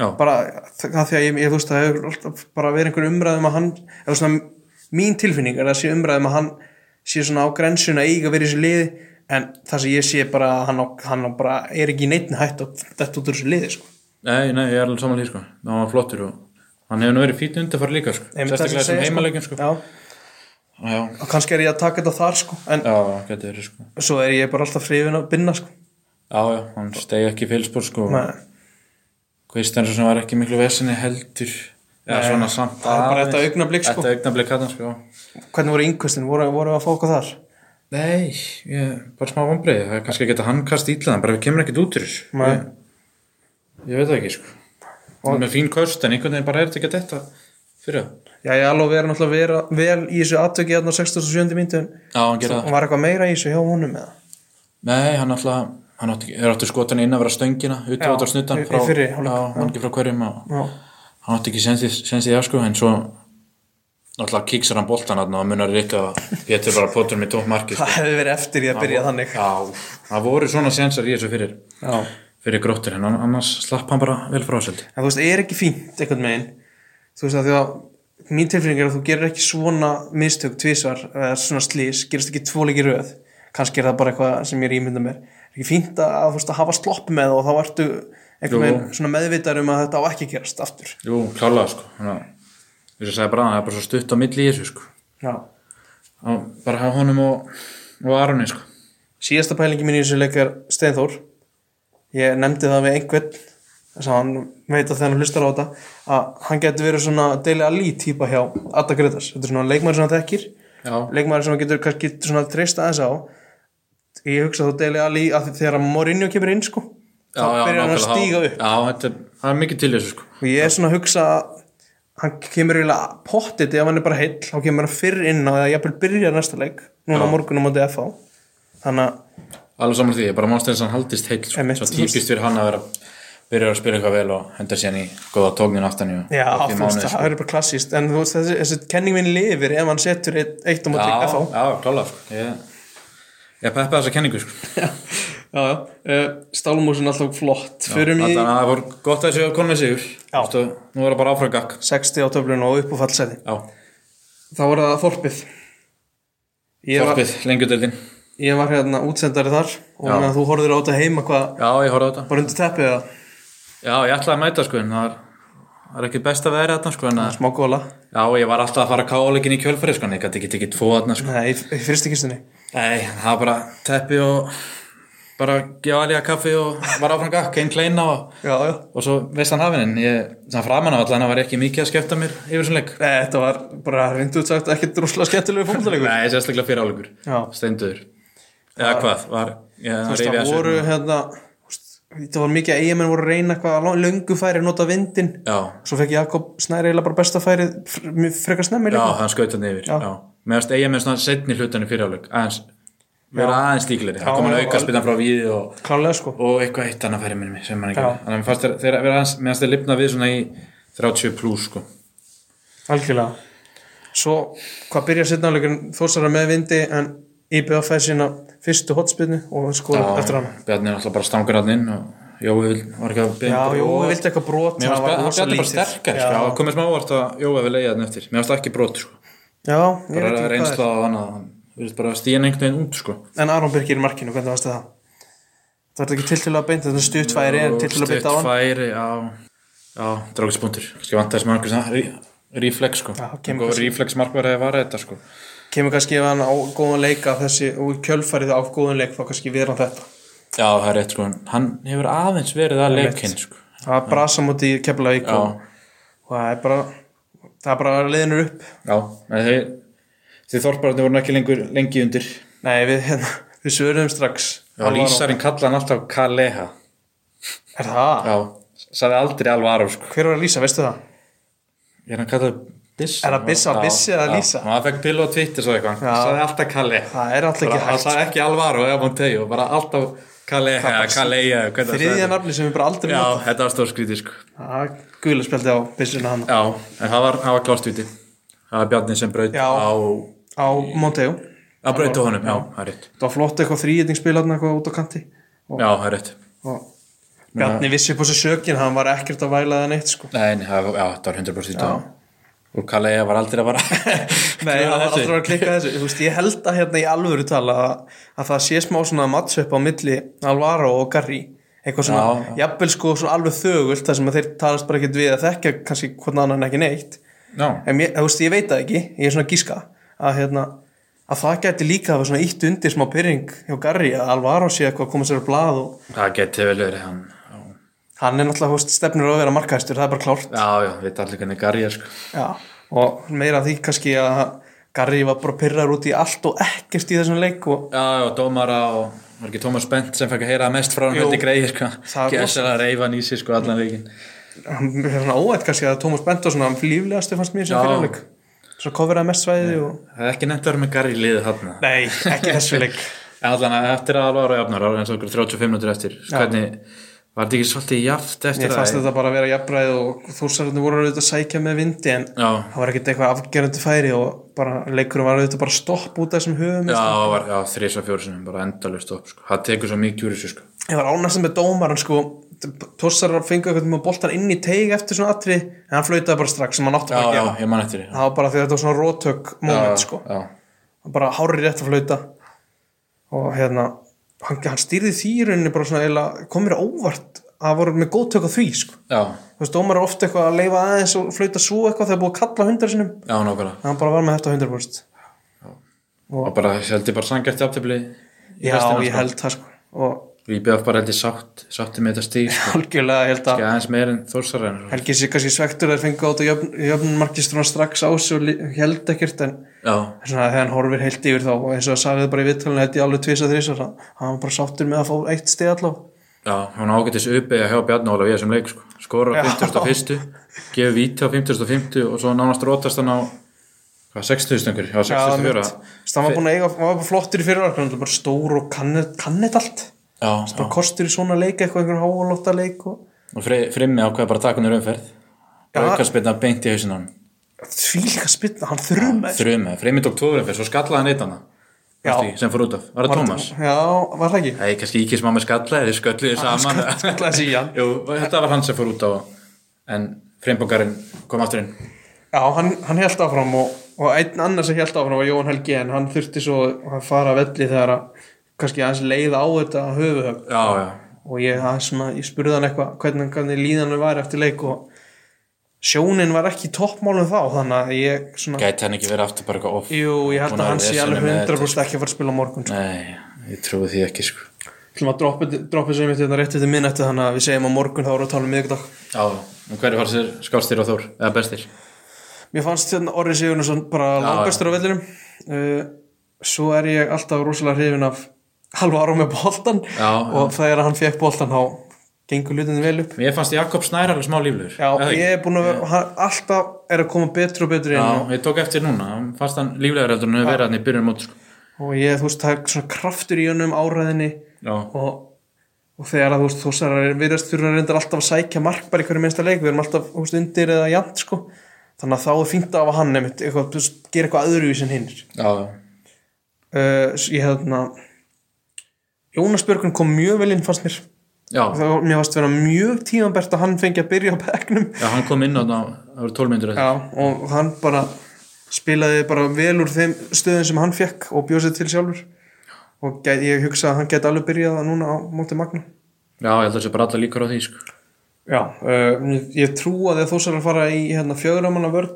Speaker 1: Já,
Speaker 2: Bara það því að ég, ég þú veist, það hefur alltaf bara verið einhver umræðum að hann, eða svona mín tilfinning er að sé umræðum að hann sé svona á grensuna eiga verið í þessu liði en það sem ég sé bara að hann, á, hann á bara er ekki neittn hætt og þetta út úr þessu liði sko.
Speaker 1: nei, nei, ég er alveg samanlega sko Það var flottur og hann hefur nú verið fýtt undir fara líka sko
Speaker 2: Einmitt það sem
Speaker 1: Sérstaklega
Speaker 2: ég
Speaker 1: sem
Speaker 2: segi,
Speaker 1: heimaleikin sko Já,
Speaker 2: Já,
Speaker 1: já,
Speaker 2: og kannski er ég að taka þetta þar sko en
Speaker 1: já, getur verið sko
Speaker 2: svo er ég bara alltaf hrifin að binna sko
Speaker 1: Já, já, hann stegi ekki félspor sko
Speaker 2: Nei,
Speaker 1: Kristjánsson sem var ekki miklu vesinni heldur Já, svona samt
Speaker 2: það er bara þetta
Speaker 1: aðeins.
Speaker 2: augnablik, sko.
Speaker 1: Þetta augnablik hann sko
Speaker 2: hvernig voru yngvistin, voru, voru að fá okkur þar?
Speaker 1: Nei, ég, bara smá vombriði, það er kannski að geta handkast ítlaðan, bara við kemur ekkert út úr þessu.
Speaker 2: Nei.
Speaker 1: Ég, ég veit það ekki, sko. Það er með fín köst, en einhvern veginn bara er þetta ekki að detta fyrir það.
Speaker 2: Já, ég alveg verið náttúrulega vera, vel í þessu aðtöki á 67. myndu en
Speaker 1: Já, hann gera það.
Speaker 2: hún var eitthvað meira í þessu hjá honum eða
Speaker 1: Nei, hann alltaf, hann átti, er áttu skotan inn að vera stöngina, út
Speaker 2: Já,
Speaker 1: út á snuttan
Speaker 2: í- í fyrri hálfleik,
Speaker 1: já, hann ekki frá hverjum og
Speaker 2: Já,
Speaker 1: hann átti ekki sensið það, sko, en svo alltaf kíksar hann boltan hann og það munar rikka að Pétur bara potur með tók marki, sko.
Speaker 2: það hefði verið eftir ég að byrja þannig
Speaker 1: Já, það voru svona sensar í þessu fyrir,
Speaker 2: Já.
Speaker 1: fyrir gróttir, en annars slapp hann bara vel frá sældi.
Speaker 2: En þú veist, er ekki fínt einhvern megin þú veist að því að mín tilfinning er að þú gerir ekki svona mistök tvísvar eða svona slís, gerist ekki tvoleiki röð kannski er það bara eitthvað sem ég er ímynda mér er ekki fínt að, þú veist, að hafa slopp með og þá ertu
Speaker 1: Jú.
Speaker 2: einhvern veginn svona meðvitar um að þetta á ekki að gerast aftur
Speaker 1: Jú, klálega sko Þannig að Við sem sagði bara að það er bara svo stutt á milli í þessu sko
Speaker 2: Já.
Speaker 1: á, Bara hafa honum og, og Aroni sko
Speaker 2: síðasta pælingi mín í þessu leik er Steinþór ég nefndi það við einhvern þess að hann veit að þegar hann hlustar á þetta að hann getur verið svona Dele Alli típa hjá Adda Gretas þetta er svona leikmæður sem hann þekkir
Speaker 1: Já,
Speaker 2: leikmaður sem hann getur kannski svona treyst aðeins á ég hugsa þá Dele Alli að þegar að Mourinho kemur inn sko þá byrjar hann að
Speaker 1: nákvæmlega,
Speaker 2: stíga
Speaker 1: já.
Speaker 2: upp
Speaker 1: Já, þetta er, það er mikið til í þessu sko
Speaker 2: og ég er svona að hugsa að hann kemur eiginlega pottið ef hann er bara heill þá kemur hann fyrr inn á eða jafnvel byrja næsta leik núna
Speaker 1: Já.
Speaker 2: á morgunum á DFA þannig að
Speaker 1: Alveg saman því, ég bara mannst eins að hann haldist heill sko.
Speaker 2: Einmitt.
Speaker 1: Svo típist fyrir hann að vera byrja að spila eitthvað vel og henda sér í góða tóknin aftan í og-
Speaker 2: já,
Speaker 1: og því
Speaker 2: þú veist,
Speaker 1: mánuði, sko.
Speaker 2: það er bara klassíst en þú veist, þessi, þessi kenning minn lifir ef hann setur eitt, eitt á móti
Speaker 1: Já,
Speaker 2: FH
Speaker 1: já, klálega sko Ég, ég peppa þessa kenningu sko
Speaker 2: já, já, uh, stálmúsin alltaf flott förum í
Speaker 1: Þannig að það voru gott að þessu að konu sigur
Speaker 2: Já.
Speaker 1: Vistu, Nú er það bara áfram gakk
Speaker 2: 60 á töflun og upp á fallseti
Speaker 1: Já,
Speaker 2: þá var það þorpið ég var,
Speaker 1: þorpið, lengjudeldin
Speaker 2: ég var hérna útsendari þar og
Speaker 1: Já.
Speaker 2: þannig að þú horfður á þetta heima hvað
Speaker 1: Já, ég horfði á þetta
Speaker 2: bara undir teppið eða
Speaker 1: Já, ég ætlaði að mæta sko en það er, það er ekki best að vera þarna sko en að,
Speaker 2: smá góla
Speaker 1: Já, ég var alltaf að fara að káleikin í kjölfæri sko en ég gæti ekki tekið tvo þarna sko
Speaker 2: nei, í í fyrstu kistunni
Speaker 1: Nei, það var bara teppi og bara gefa alveg kaffi og var áfram gakk, einn kleina og,
Speaker 2: já, já
Speaker 1: og svo veist hann hafinn en ég, sem framan af allan, það var ekki mikið að skefta mér yfir sem leik
Speaker 2: Nei, þetta var bara reyndu sagt ekki drosla skemmtilegu fólkvöldalegur
Speaker 1: Nei, sérstaklega fyrir áleikur,
Speaker 2: Já,
Speaker 1: steindur Eða hvað, var, ég
Speaker 2: þú veist,
Speaker 1: reyfi
Speaker 2: það
Speaker 1: þessu
Speaker 2: voru hérna þú veist, þetta var mikið að eigamenn voru að reyna eitthvað að löngu færi að nota vindin
Speaker 1: Já,
Speaker 2: svo fekk Jakob Snæri eiginlega bara besta færi frekar snemmi
Speaker 1: já,
Speaker 2: líka
Speaker 1: hann skaut hann yfir
Speaker 2: Já.
Speaker 1: Já, mér varst eiga með svona setni hlutan í fyriráleik aðeins, vera aðeins líklegri það kom hann
Speaker 2: já,
Speaker 1: auka spilna frá víði og,
Speaker 2: klálega sko
Speaker 1: og eitthvað eitt annað færi minni sem hann ekki,
Speaker 2: Já.
Speaker 1: þannig að mér fannst þeir- þeir vera aðeins mér fannst þeir lifna við svona í 30 plus sko.
Speaker 2: algjörlega svo hvað byrja setnáleikur þósara með vindi en IBF fæði sína fyrstu hotspinnu og skora eftir hana
Speaker 1: Bjarni er alltaf bara stangur hann inn og Jói vil, var ekki að
Speaker 2: já,
Speaker 1: byrja
Speaker 2: jú, við vildi eitthvað brot
Speaker 1: Mér
Speaker 2: það var
Speaker 1: fannst
Speaker 2: rosa
Speaker 1: Bjarni bara
Speaker 2: lítið.
Speaker 1: sterkari,
Speaker 2: já,
Speaker 1: sko, það komið smá óvart að Jói vil leiða hann eftir, mér fannst það ekki brot sko.
Speaker 2: já, ég veit
Speaker 1: bara
Speaker 2: ekki hvað
Speaker 1: reynsla á hann að hann virðist bara stíðan einhvern veginn út sko.
Speaker 2: er en Aron Birkir í markinu, hvernig varstu það? það var ekki tiltilega beint, þetta er stuttfæri en tiltilega beint á hann
Speaker 1: færi, já, já drákispunktur, kannski vantaði sem einhvers að reflex sko,
Speaker 2: Já, kemur
Speaker 1: einhver reflex markverði að vara þetta sko,
Speaker 2: kemur kannski ef hann á góðan leik að þessi, og í kjölfarið á góðan leik þá kannski viðra hann þetta
Speaker 1: já það er rétt sko en hann hefur aðeins verið að leikinn sko,
Speaker 2: það er brasa múti í Keflavík
Speaker 1: já,
Speaker 2: og, og það er bara það er bara leðinur upp
Speaker 1: já en þeir, þeir þorpararnir voru nú ekki lengur lengi undir,
Speaker 2: Nei, við, hérna, við svöruðum strax
Speaker 1: já, Lísarinn kallaði hann alltaf Kaleha,
Speaker 2: Er það?
Speaker 1: já, sagði aldrei alveg aðra sko,
Speaker 2: Hver var að lýsa, veistu það?
Speaker 1: ég er hann kallaði Bissa,
Speaker 2: Er það Bissa,
Speaker 1: Já,
Speaker 2: Bissi eða
Speaker 1: já.
Speaker 2: Lísa?
Speaker 1: og hann fekk pilu á Twitter svo eitthvað,
Speaker 2: Já.
Speaker 1: hann sagði alltaf Kaleha
Speaker 2: Það er alltaf
Speaker 1: Bara,
Speaker 2: ekki
Speaker 1: hann
Speaker 2: hægt
Speaker 1: sagði ekki Alvaro eða Montejo bara alltaf Kaleja Kaleja
Speaker 2: Þriðja nafni sem við bara aldrei
Speaker 1: já,
Speaker 2: nota.
Speaker 1: þetta var stórskrítið sko
Speaker 2: Það er Gula spjaldi á byssuna hann
Speaker 1: já, en það var, það var klárstvíti það var Bjarni sem braut
Speaker 2: Já.
Speaker 1: á
Speaker 2: Á Monteo
Speaker 1: að brauta honum, já, það er rétt
Speaker 2: Það var flott eitthvað þrýðningsspil hann eitthvað út á kanti
Speaker 1: já, það er rétt
Speaker 2: og Bjarni vissi upp á sig sökin hann var ekkert að væla það neitt sko
Speaker 1: Nei, nei, það var- já, þetta var 100% já. og Kaleja var aldrei að [laughs] vara
Speaker 2: Nei, það var aldrei að klikka þessu Þú veist, ég held að hérna í alvöru tala að, að það sé smá svona matchup á milli Alvaro og Garri eitthvað svona,
Speaker 1: Já,
Speaker 2: jafnvel sko svona alveg þögult þar sem að þeir talast bara ekkert við að þekkja kannski hvernig annan ekki neitt
Speaker 1: já,
Speaker 2: en ég, þú veist, ég veit það ekki, ég er svona að gíska að hérna, að það gæti líka að vera svona ítt undir smá pyrring hjá Garri að Alvaro sé eitthvað að koma sér á blað og
Speaker 1: það geti vel verið hann já,
Speaker 2: hann er náttúrulega, þú veist, stefnir á að vera markahæstur, það er bara klárt
Speaker 1: já, já, við allir hvernig garja sko
Speaker 2: Já, og meira af því kannski að Garri var bara pyrrar út í allt og ekkert í þessum leik og
Speaker 1: já, já, dómara og var ekki Tómas Bent sem fekk að heyra mest frá hann
Speaker 2: Jú.
Speaker 1: hvernig greið sko,
Speaker 2: Það er
Speaker 1: gæsala reyfa nýsi sko allan veginn
Speaker 2: hann er svona óætt kannski að Tómas Bentorsson hann líflegastu fannst mér sem
Speaker 1: Já.
Speaker 2: fyrirleik svo kofraði mest svæði og
Speaker 1: Það er ekki nefnt að vera með Garri í liðið þarna.
Speaker 2: nei,
Speaker 1: [laughs]
Speaker 2: ekki þessu leik
Speaker 1: En allan að eftir að alvara og jafnar, ára eins og okkur 35 minútur eftir. sko, Hvernig, var þetta ekki svolítið jaft eftir
Speaker 2: ég fannst
Speaker 1: það?
Speaker 2: þetta bara að vera jafnræði og þúsarðinu voru auðvitað að sækja með vindi en
Speaker 1: Já,
Speaker 2: það var ekkert eitthvað afgerandi færi og bara leikurinn var auðvitað bara stopp út af þessum höfum
Speaker 1: já, var, já þrís og fjóru sinum, bara endalust upp. Sko. Það tekur svo mikið úr þessu, sko.
Speaker 2: ég var ánæstum með dómaran sko Tossar fengu eitthvað með boltan inn í teig eftir svona atri en hann flautaði bara strax sem hann átti
Speaker 1: já,
Speaker 2: bara að
Speaker 1: já,
Speaker 2: gera
Speaker 1: ég man eftir því
Speaker 2: það var bara því að þetta var svona rótök moment
Speaker 1: Já,
Speaker 2: sko
Speaker 1: já,
Speaker 2: hann bara hárið rétt að flauta og hérna hann, hann stýrði því í rauninni bara svona eiginlega kom mér á óvart að það voru með góð tök á því sko
Speaker 1: já,
Speaker 2: þú veist dómar er ofta eitthvað að leifa aðeins og flauta svo eitthvað þegar búið að kalla hundar sinum
Speaker 1: já, nákvæmlega
Speaker 2: en hann bara var með þetta hundar búst
Speaker 1: og bara, ég held ég bara sangjætti aftöfli
Speaker 2: já ég held það sko og
Speaker 1: Við bjöðum bara held ég sátt, sátti með þetta stíl
Speaker 2: algjörlega ég held að
Speaker 1: sko. ekki aðeins meir en sko. Þórsar en
Speaker 2: Helgi sé kannski svektur að fengu á þetta jöfn, jöfnmarkistruna strax á sig og li- held ekkert en
Speaker 1: já,
Speaker 2: svona, þegar hann horfir heilt yfir þá og eins og það sagði bara í vittalinu held ég alveg tvisa þrýsa hann var bara sáttur með að fá eitt stið allavega
Speaker 1: já, hún ágættis uppið að hjá Bjarni Ólaf í þessum leik sko. skora á
Speaker 2: Já.
Speaker 1: 51. gefur víti á 50. og svo nánast rótast hann á hvað, 60. yngur, já,
Speaker 2: Já, það
Speaker 1: 64.
Speaker 2: mitt. Þess, hann var búin að eiga, hann var bara flottur í fyrirvarknum hann var bara stór og kannið kann þetta allt
Speaker 1: já, já,
Speaker 2: bara kostur í svona leik eitthvað einhvern háalóta leik og
Speaker 1: og fri, frimmi ákveð bara að taka hann í raunferð
Speaker 2: Já.
Speaker 1: aukarspilna beint í hausinn á hann
Speaker 2: því líka spilna, hann þrjum
Speaker 1: þrjumið, fremið tók tvo raunferð, svo skallaði hann eitt hana
Speaker 2: Já.
Speaker 1: Veistu, sem fór út af, var það Tómas
Speaker 2: já, var það ekki?
Speaker 1: Nei, kannski ekki sem að með skalla eða skölluði saman
Speaker 2: Skallaði sig í hann.
Speaker 1: [laughs] Jú, þetta var hann sem fór út á en freimbangarinn kom aftur inn
Speaker 2: Já, hann, hann held áfram og, og einn annar sem held áfram var Jóhann Helgi en hann þurfti svo að fara að velli þegar að kannski aðeins leiða á þetta höfuhöf
Speaker 1: Já, já,
Speaker 2: og ég, aðeins svona, ég spurði hann eitthvað hvernig, hvernig líðanum var eftir leik og sjónin var ekki í toppmálum þá þannig að ég svona
Speaker 1: gæti hann ekki verið aftur bara eitthvað off
Speaker 2: Jú, ég held
Speaker 1: Búin
Speaker 2: að
Speaker 1: að
Speaker 2: hann sé
Speaker 1: vera
Speaker 2: alveg
Speaker 1: vesen með
Speaker 2: 100% ekki að fara að spila á morgun sko.
Speaker 1: Nei, ég trúi því ekki sko
Speaker 2: Þú að droppa, droppa sem þetta rétt eftir minnættu þannig að við segjum að morgun þá eru að tala um miðugdag
Speaker 1: Já, og hverju var þessir skálstýr á Þór eða bestir?
Speaker 2: Mér fannst hérna Orri Sigurðsson bara
Speaker 1: Já,
Speaker 2: langbestur á vellinum uh, Svo er ég alltaf rosalega hrifin af Alvaro með boltan
Speaker 1: Já,
Speaker 2: og þegar hann fekk boltan þá gengur hlutinni vel upp
Speaker 1: Mér fannst Jakob Snær alveg smá líflegur
Speaker 2: Já,
Speaker 1: eða ekki?
Speaker 2: ég er búin að vera, hann alltaf er að koma betur og betur inn og,
Speaker 1: Já, ég tók eftir núna, hann fannst hann líflegur heldur en hann hefur verið hann í byrjun mót sko.
Speaker 2: og ég, þú veist, það er svona kraftur í önum áræðinni
Speaker 1: Já,
Speaker 2: og, og þegar að þú veist, þú veist, viðrast þurfa reyndar alltaf að sækja mark bara í hverju minnsta leik, við erum alltaf, þú veist, undir eða jant, sko, þannig að þá er fínt að hafa hann nefnt, eitthvað, þú veist, gera eitthvað öðruvís en hinnir
Speaker 1: já,
Speaker 2: uh, ég hefðna Jónas Björgun kom mjög vel inn fannst mér
Speaker 1: já,
Speaker 2: það var, mér fannst vera mjög tímanbært að hann fengi að byrja á bekknum
Speaker 1: já, hann kom inn á það, það voru 12 myndur eftir
Speaker 2: já, og hann bara spilaði bara vel úr þeim stöðum sem hann fekk og bjóð sér til sjálfur og get, ég hugsa að hann geti alveg byrjað það núna á móti Magna
Speaker 1: Já, ég held að það sé bara alla líkur á því sko.
Speaker 2: já, uh, ég, ég trú að þegar þú sér að fara í hérna, fjöguramanna vörn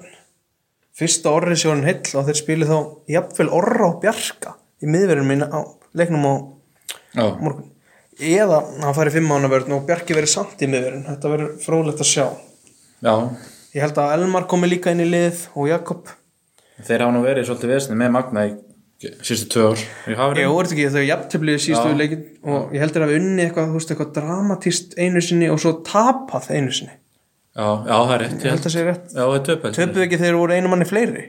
Speaker 2: fyrsta orri sé hann heill og þeir spili þá jafnvel orra og bjarga í miðverðin minna á leiknum á
Speaker 1: Já,
Speaker 2: á morgun eða hann færi fimm mánu vörðin og Bjarki verið samt í miðurinn þetta verður fróðlegt að sjá
Speaker 1: já,
Speaker 2: ég held að Elmar komi líka inn í lið og Jakob
Speaker 1: Þeir hafa nú verið svolítið vesni með Magna í sístu tvö ár í
Speaker 2: ég
Speaker 1: Hafrið.
Speaker 2: orði ekki þau jafntöflið sístu leikin og ég heldur að við unni eitthvað, þú veist, eitthvað dramatíst einu sinni og svo tapað einu sinni
Speaker 1: Já, já, það er rétt.
Speaker 2: ég
Speaker 1: Já,
Speaker 2: held að segja rétt
Speaker 1: já það er töpöld.
Speaker 2: töpuð ekki þegar voru einu manni fleiri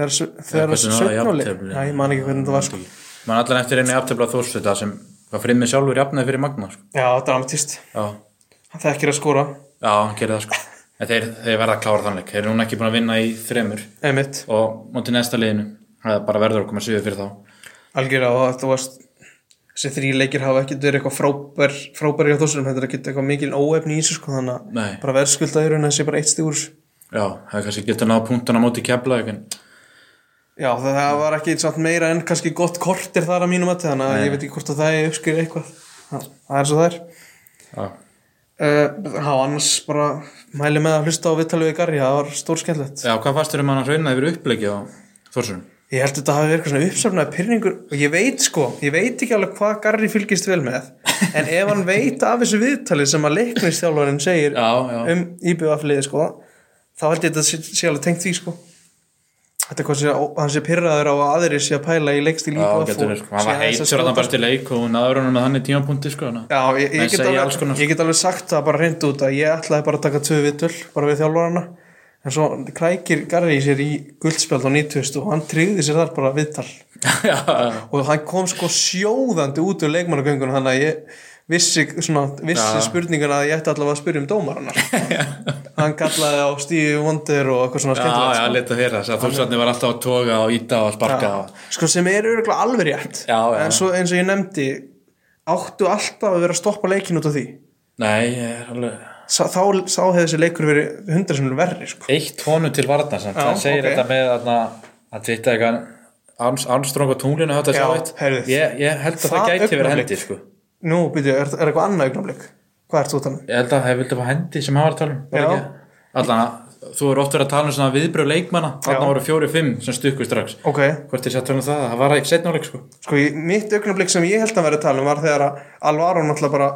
Speaker 2: þegar, s- þegar
Speaker 1: hversu náðu
Speaker 2: sögnuleg
Speaker 1: jafntefli?
Speaker 2: já, ég man ekki hvernig þetta var sko
Speaker 1: Man allan eftir einu aftöfla þórsveita sem var frimmið sjálfur jafnaði fyrir Magna. Sko.
Speaker 2: já, dramatíst,
Speaker 1: Já,
Speaker 2: hann þekkir að skora
Speaker 1: já, hann gerir það sko. En þeir, þeir verða að klára þannleik. Þeir eru núna ekki búin að vinna í þremur
Speaker 2: einmitt,
Speaker 1: og mútið næsta liðinu. Það er bara verður að koma síður fyrir þá.
Speaker 2: algjörlega og þetta varst þessi þrý leikir hafa ekkert verið eitthvað frábær frábær hjá þossunum, þetta er ekkert eitthvað mikil óefni í þessu sko þannig að
Speaker 1: Nei.
Speaker 2: bara verðskulda í raun að þessi bara eitt stígur
Speaker 1: Já, það er kannski getur náða punktana mótið kefla. En...
Speaker 2: já það, það var ekki samt meira en kannski gott kortir þar að mínum að þannig að ég veit ekki hvort að það er uppskýrið eitthvað það það er svo það er
Speaker 1: Já,
Speaker 2: uh, há annars bara mæli með að hlusta á viðtalið í Garri það var stór skemmtilegt
Speaker 1: já hvað fannst þér um hann að hrauna yfir uppleiki á þórsunum?
Speaker 2: Ég held að þetta hafi verið eitthvað svona uppsöfnaði pyrringur og ég veit sko, ég veit ekki alveg hvað Garri fylgist vel með en ef hann veit af þessu viðtalið sem að leiknistjálfarinn segir
Speaker 1: Já, já.
Speaker 2: um íbjöðafliði sko þá held ég þetta sé, sé alveg tengt því sko Þetta er hvað sé, ó- hann sé pyrraður á að aðri sé að pæla í leikstil
Speaker 1: Já,
Speaker 2: íbjöðaf
Speaker 1: getur þér sko. Hann var heitur hann bara til leik og náður hann með hann í tímapunkti sko. Þannig. að-
Speaker 2: Já, ég,
Speaker 1: Menn
Speaker 2: ég, get
Speaker 1: segja
Speaker 2: alveg,
Speaker 1: alls konar, sko.
Speaker 2: ég get alveg sagt það bara reynd út að ég ætlaði bara að taka tvö viðtöl bara við þjálfarana en svo krækir Garri í sér í guldspjald á 90 og hann tryggði sér þar bara viðtal
Speaker 1: [laughs] Já,
Speaker 2: og hann kom sko sjóðandi út úr leikmannagöngunum þannig að ég vissi, svona, vissi
Speaker 1: Já.
Speaker 2: spurninguna að ég ætti allavega að spyrja um
Speaker 1: [laughs]
Speaker 2: dómarana hann kallaði á Stífi Wonder og eitthvað svona
Speaker 1: Já, já,
Speaker 2: skemmtilegt sko.
Speaker 1: leta þér þess að þúsarni var alltaf að toga og íta og sparka og...
Speaker 2: sko. sko sem er örgulega alveg rétt
Speaker 1: Já, já.
Speaker 2: en svo eins og ég nefndi áttu alltaf að vera að stoppa leikin út af því
Speaker 1: Nei, ég er alveg
Speaker 2: Sá, þá, þá hefði þessi leikur verið hundra sem verri sko.
Speaker 1: Eitt honu til varna samt,
Speaker 2: Já,
Speaker 1: hann segir
Speaker 2: ok.
Speaker 1: þetta með þarna, að tvitta eitthvað Arms- Armstrong á tunglinu höfðu að
Speaker 2: Já,
Speaker 1: sjá eitt
Speaker 2: heyrðu.
Speaker 1: ég, ég held að það,
Speaker 2: Það
Speaker 1: gæti verið
Speaker 2: augnablik.
Speaker 1: hendi sko.
Speaker 2: nú, byrju, er, er eitthvað annað augnablik hvað ert þú um? þannig?
Speaker 1: ég held að það vildi fá hendi sem hafa að tala um var
Speaker 2: Já.
Speaker 1: ekki? allan að þú eru oft verið að tala um svona viðbröð leikmanna
Speaker 2: Já.
Speaker 1: þarna voru fjóri-fimm sem stukku strax
Speaker 2: ok,
Speaker 1: hvort er satt hann það, það var ekki setnáleik sko.
Speaker 2: sko ég- mitt augnablik sem ég held að vera að tala um var þegar að Alvaro náttúrulega bara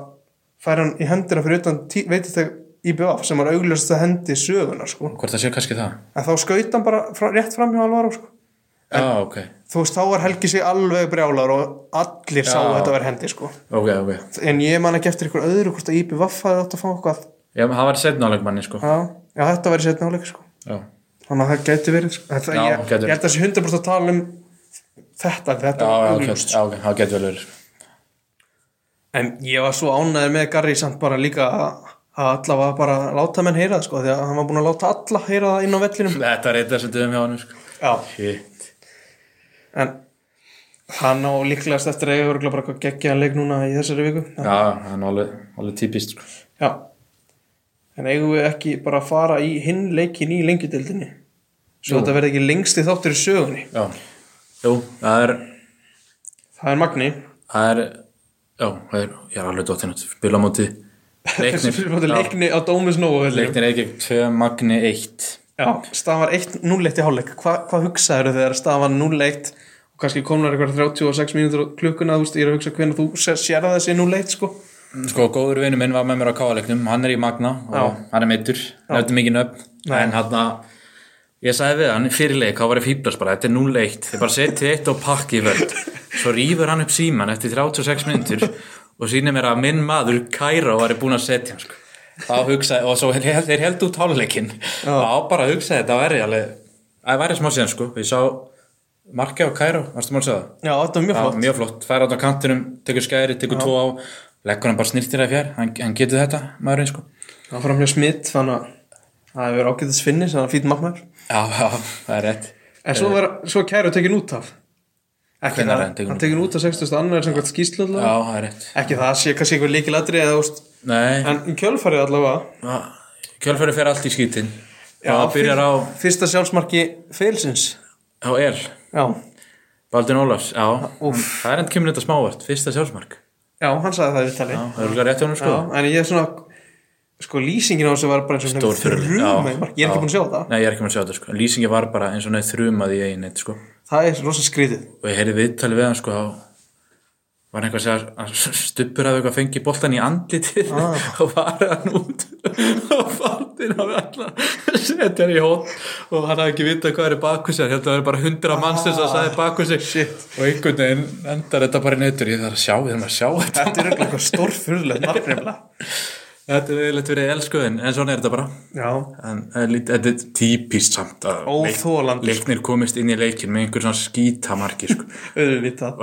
Speaker 2: fær hann í hendina fyrir utan veitir þegar IBF sem var augljósast að hendi söguna sko.
Speaker 1: hvort það sé kannski það
Speaker 2: en þá skaut hann bara fra, rétt fram hjá Alvaro sko.
Speaker 1: já, Ah, ok,
Speaker 2: þú veist, þá var Helgi sig alveg brjálar og allir sá
Speaker 1: Já.
Speaker 2: að þetta var hendi sko.
Speaker 1: ok, ok
Speaker 2: en ég man ekki eftir ykkur öðru hvort að IBF hafði átt að fá eitthvað
Speaker 1: já, það var setnáleik manni sko.
Speaker 2: já, já þetta væri setna áleik sko.
Speaker 1: já.
Speaker 2: þannig að það gæti verið sko. það,
Speaker 1: Já,
Speaker 2: ég,
Speaker 1: gæti verið.
Speaker 2: ég held að þessi 100% að tala um þetta,
Speaker 1: Já,
Speaker 2: þetta
Speaker 1: já,
Speaker 2: var
Speaker 1: ok,
Speaker 2: augljóst
Speaker 1: já, ok, það getur vel verið sko.
Speaker 2: En ég var svo ánæður með Garri samt bara líka að að allavega bara láta menn heyra það sko því að hann var búin að láta alla heyra það inn á vellinum
Speaker 1: Þetta er eitthvað sem duðum hjá hann sko.
Speaker 2: Já,
Speaker 1: Shit.
Speaker 2: en hann á líklegast eftir að ég voru bara hvað geggjaðan leik núna í þessari viku
Speaker 1: Já, það er alveg, alveg típist sko.
Speaker 2: Já En eigum við ekki bara að fara í hinn leikin í lengjudildinni Svo þetta verði ekki lengsti þáttur í sögunni
Speaker 1: Já, jú, það er
Speaker 2: Það er Magni
Speaker 1: það er, já, það er ég er alveg dóttinn út, spila á [laughs] móti leiknir,
Speaker 2: Þessi fyrir leikni á Dómus Nóa
Speaker 1: leiknir eða gegn 2, magni 1
Speaker 2: Já, stafar 1-0-1 í hálfleik Hva, hvað hugsaður þegar stafan 0-1 og kannski komnar eitthvað 36 mínútur á klukkuna, þú veist, ég er að hugsa hvernig þú sér, sér að þessi 0-1 sko
Speaker 1: sko, góður vinnu minn var með mér á káleiknum hann er í magna og hann er meittur nefndi mikið nöfn, en hann að ég sagði við hann fyrir leik, hann var í fýblast bara, þetta er 0-1, þið bara setið eitt og pakki í völd, svo rýfur hann upp síman eftir 36 minntur og sýnir mér að minn maður Kæra var búin að setja hann sko. þá hugsaði, og svo hel- hel- þeir held út háluleikin og á bara að hugsaði þetta væri alveg, það væri smá síðan sko ég sá markið á Kæra, varstu maður að segja það
Speaker 2: Já, þetta var mjög
Speaker 1: Já,
Speaker 2: flott
Speaker 1: mjög flott, fær átt á kantinum, tekur skæri, tekur tvo á leggur hann bara snirtir að fjær, hann, hann getur þetta maðurinn sko
Speaker 2: Það var framlega smitt, þannig að það hefur verið ágætis finni, þannig að fýt markmaður
Speaker 1: já, já, það er rétt
Speaker 2: En svo, var, svo kæru tekin út af
Speaker 1: Eh.
Speaker 2: Ekki
Speaker 1: Hvenær
Speaker 2: það,
Speaker 1: er hann tekinn
Speaker 2: hann tekin út af 60. annar sem hvert skýslu
Speaker 1: já,
Speaker 2: allavega
Speaker 1: það er rétt
Speaker 2: Ekki það, sé kannski eitthvað líkilatri eða, þú veist,
Speaker 1: nei,
Speaker 2: en í kjölfarið allavega
Speaker 1: kjölfæri fer allt í skítin já,
Speaker 2: Já,
Speaker 1: það byrjar á,
Speaker 2: Fyrsta sjálfsmarki feilsins
Speaker 1: á El
Speaker 2: Já,
Speaker 1: Baldin Ólafs, já, hann,
Speaker 2: úff.
Speaker 1: það er hann kemur þetta smávart fyrsta sjálfsmark,
Speaker 2: já, hann sagði það í viðtali
Speaker 1: já, það er líka rétt hjá hann sko
Speaker 2: Já, en ég er svona sko lýsingin á þessu var bara eins og
Speaker 1: Stór furðu,
Speaker 2: þrjum
Speaker 1: já,
Speaker 2: ég er ekki búin að sjá það
Speaker 1: nei, ég er ekki með að sjá þetta sko, lýsingi var bara eins og neð þrumaði í eigin eitt sko
Speaker 2: það er rosa skrítið
Speaker 1: og ég heyrði viðtalið við hann sko þá var einhver að segja að stuppur hafði eitthvað fengið boltan í andlitið [laughs] og varði hann út [laughs] og faldin hafði [laughs] alltaf setja hann í hótt og hann hafði ekki vitað hvað er bakusir held að það er bara hundra manns þess að sagði bakusir
Speaker 2: Shit.
Speaker 1: og einhvern veginn endar þetta bara í netur ég þarf að sjá, ég þarf að sjá þetta
Speaker 2: þetta er örugglega eitthvað stórfurðulegt mark nefnilega
Speaker 1: [laughs] þetta er eiginlega verið elskuðin en svona er þetta bara
Speaker 2: já,
Speaker 1: en eh, lít- þetta er típist samt að leik-
Speaker 2: Óþolandi.
Speaker 1: leiknir komist inn í leikin með einhver svona skítamarki sko
Speaker 2: auðvitað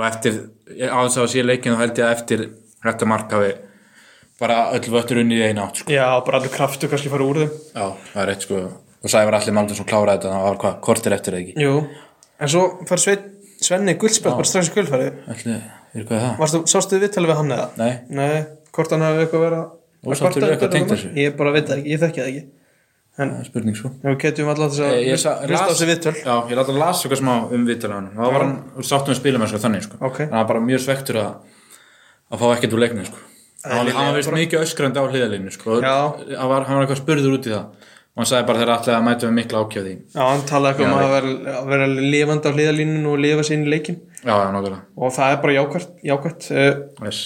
Speaker 1: og eftir, ég- á þess að sé leikin þá held ég að eftir þetta mark hafi bara öll vöttur unni í eina átt sko.
Speaker 2: já, bara allur kraftu kannski fara úr þeim
Speaker 1: já, það er rétt sko og Sævar Alli Maldur sem kláraði þetta það var hvað, kortir eftir eða ekki
Speaker 2: jú, en svo fær Svein, Svenni guldspjöld bara strax í guldfærið
Speaker 1: Alli, er hvað það?
Speaker 2: Varstu, sástu þið viðtalið við hann eða?
Speaker 1: Nei.
Speaker 2: hvort hann hafi eitthvað verið að- að
Speaker 1: Ósáttur
Speaker 2: kvarta
Speaker 1: við eitthvað
Speaker 2: undan
Speaker 1: tengt
Speaker 2: honum?
Speaker 1: þessu?
Speaker 2: ég bara veit það ekki, ég þekki það ekki
Speaker 1: það er spurning sko
Speaker 2: en við ketjum alltaf þess að
Speaker 1: Eh, ég, ég,
Speaker 2: hlusta á þessi viðtöl
Speaker 1: já, ég láta að lasa eitthvað smá um viðtölu hann þá var hann, sáttum við spilum sko, þannig sko
Speaker 2: Ok.
Speaker 1: hann var bara mjög svektur að, að fá ekkert úr leiknum sko hann hann var vist mikið öskrandi á hliðalínu sko og
Speaker 2: Já.
Speaker 1: hann var, hann var eitthvað spurður út í það og hann sagði bara þegar allir að mæta við mikla ákjöði
Speaker 2: Já, hann talaði eitthvað um að vera, að vera lifandi á hliðalínun og lifa sér inn í leikin
Speaker 1: já, já, nákvæmlega
Speaker 2: og það er bara jákvæmt, jákvæmt. Eh,
Speaker 1: yes.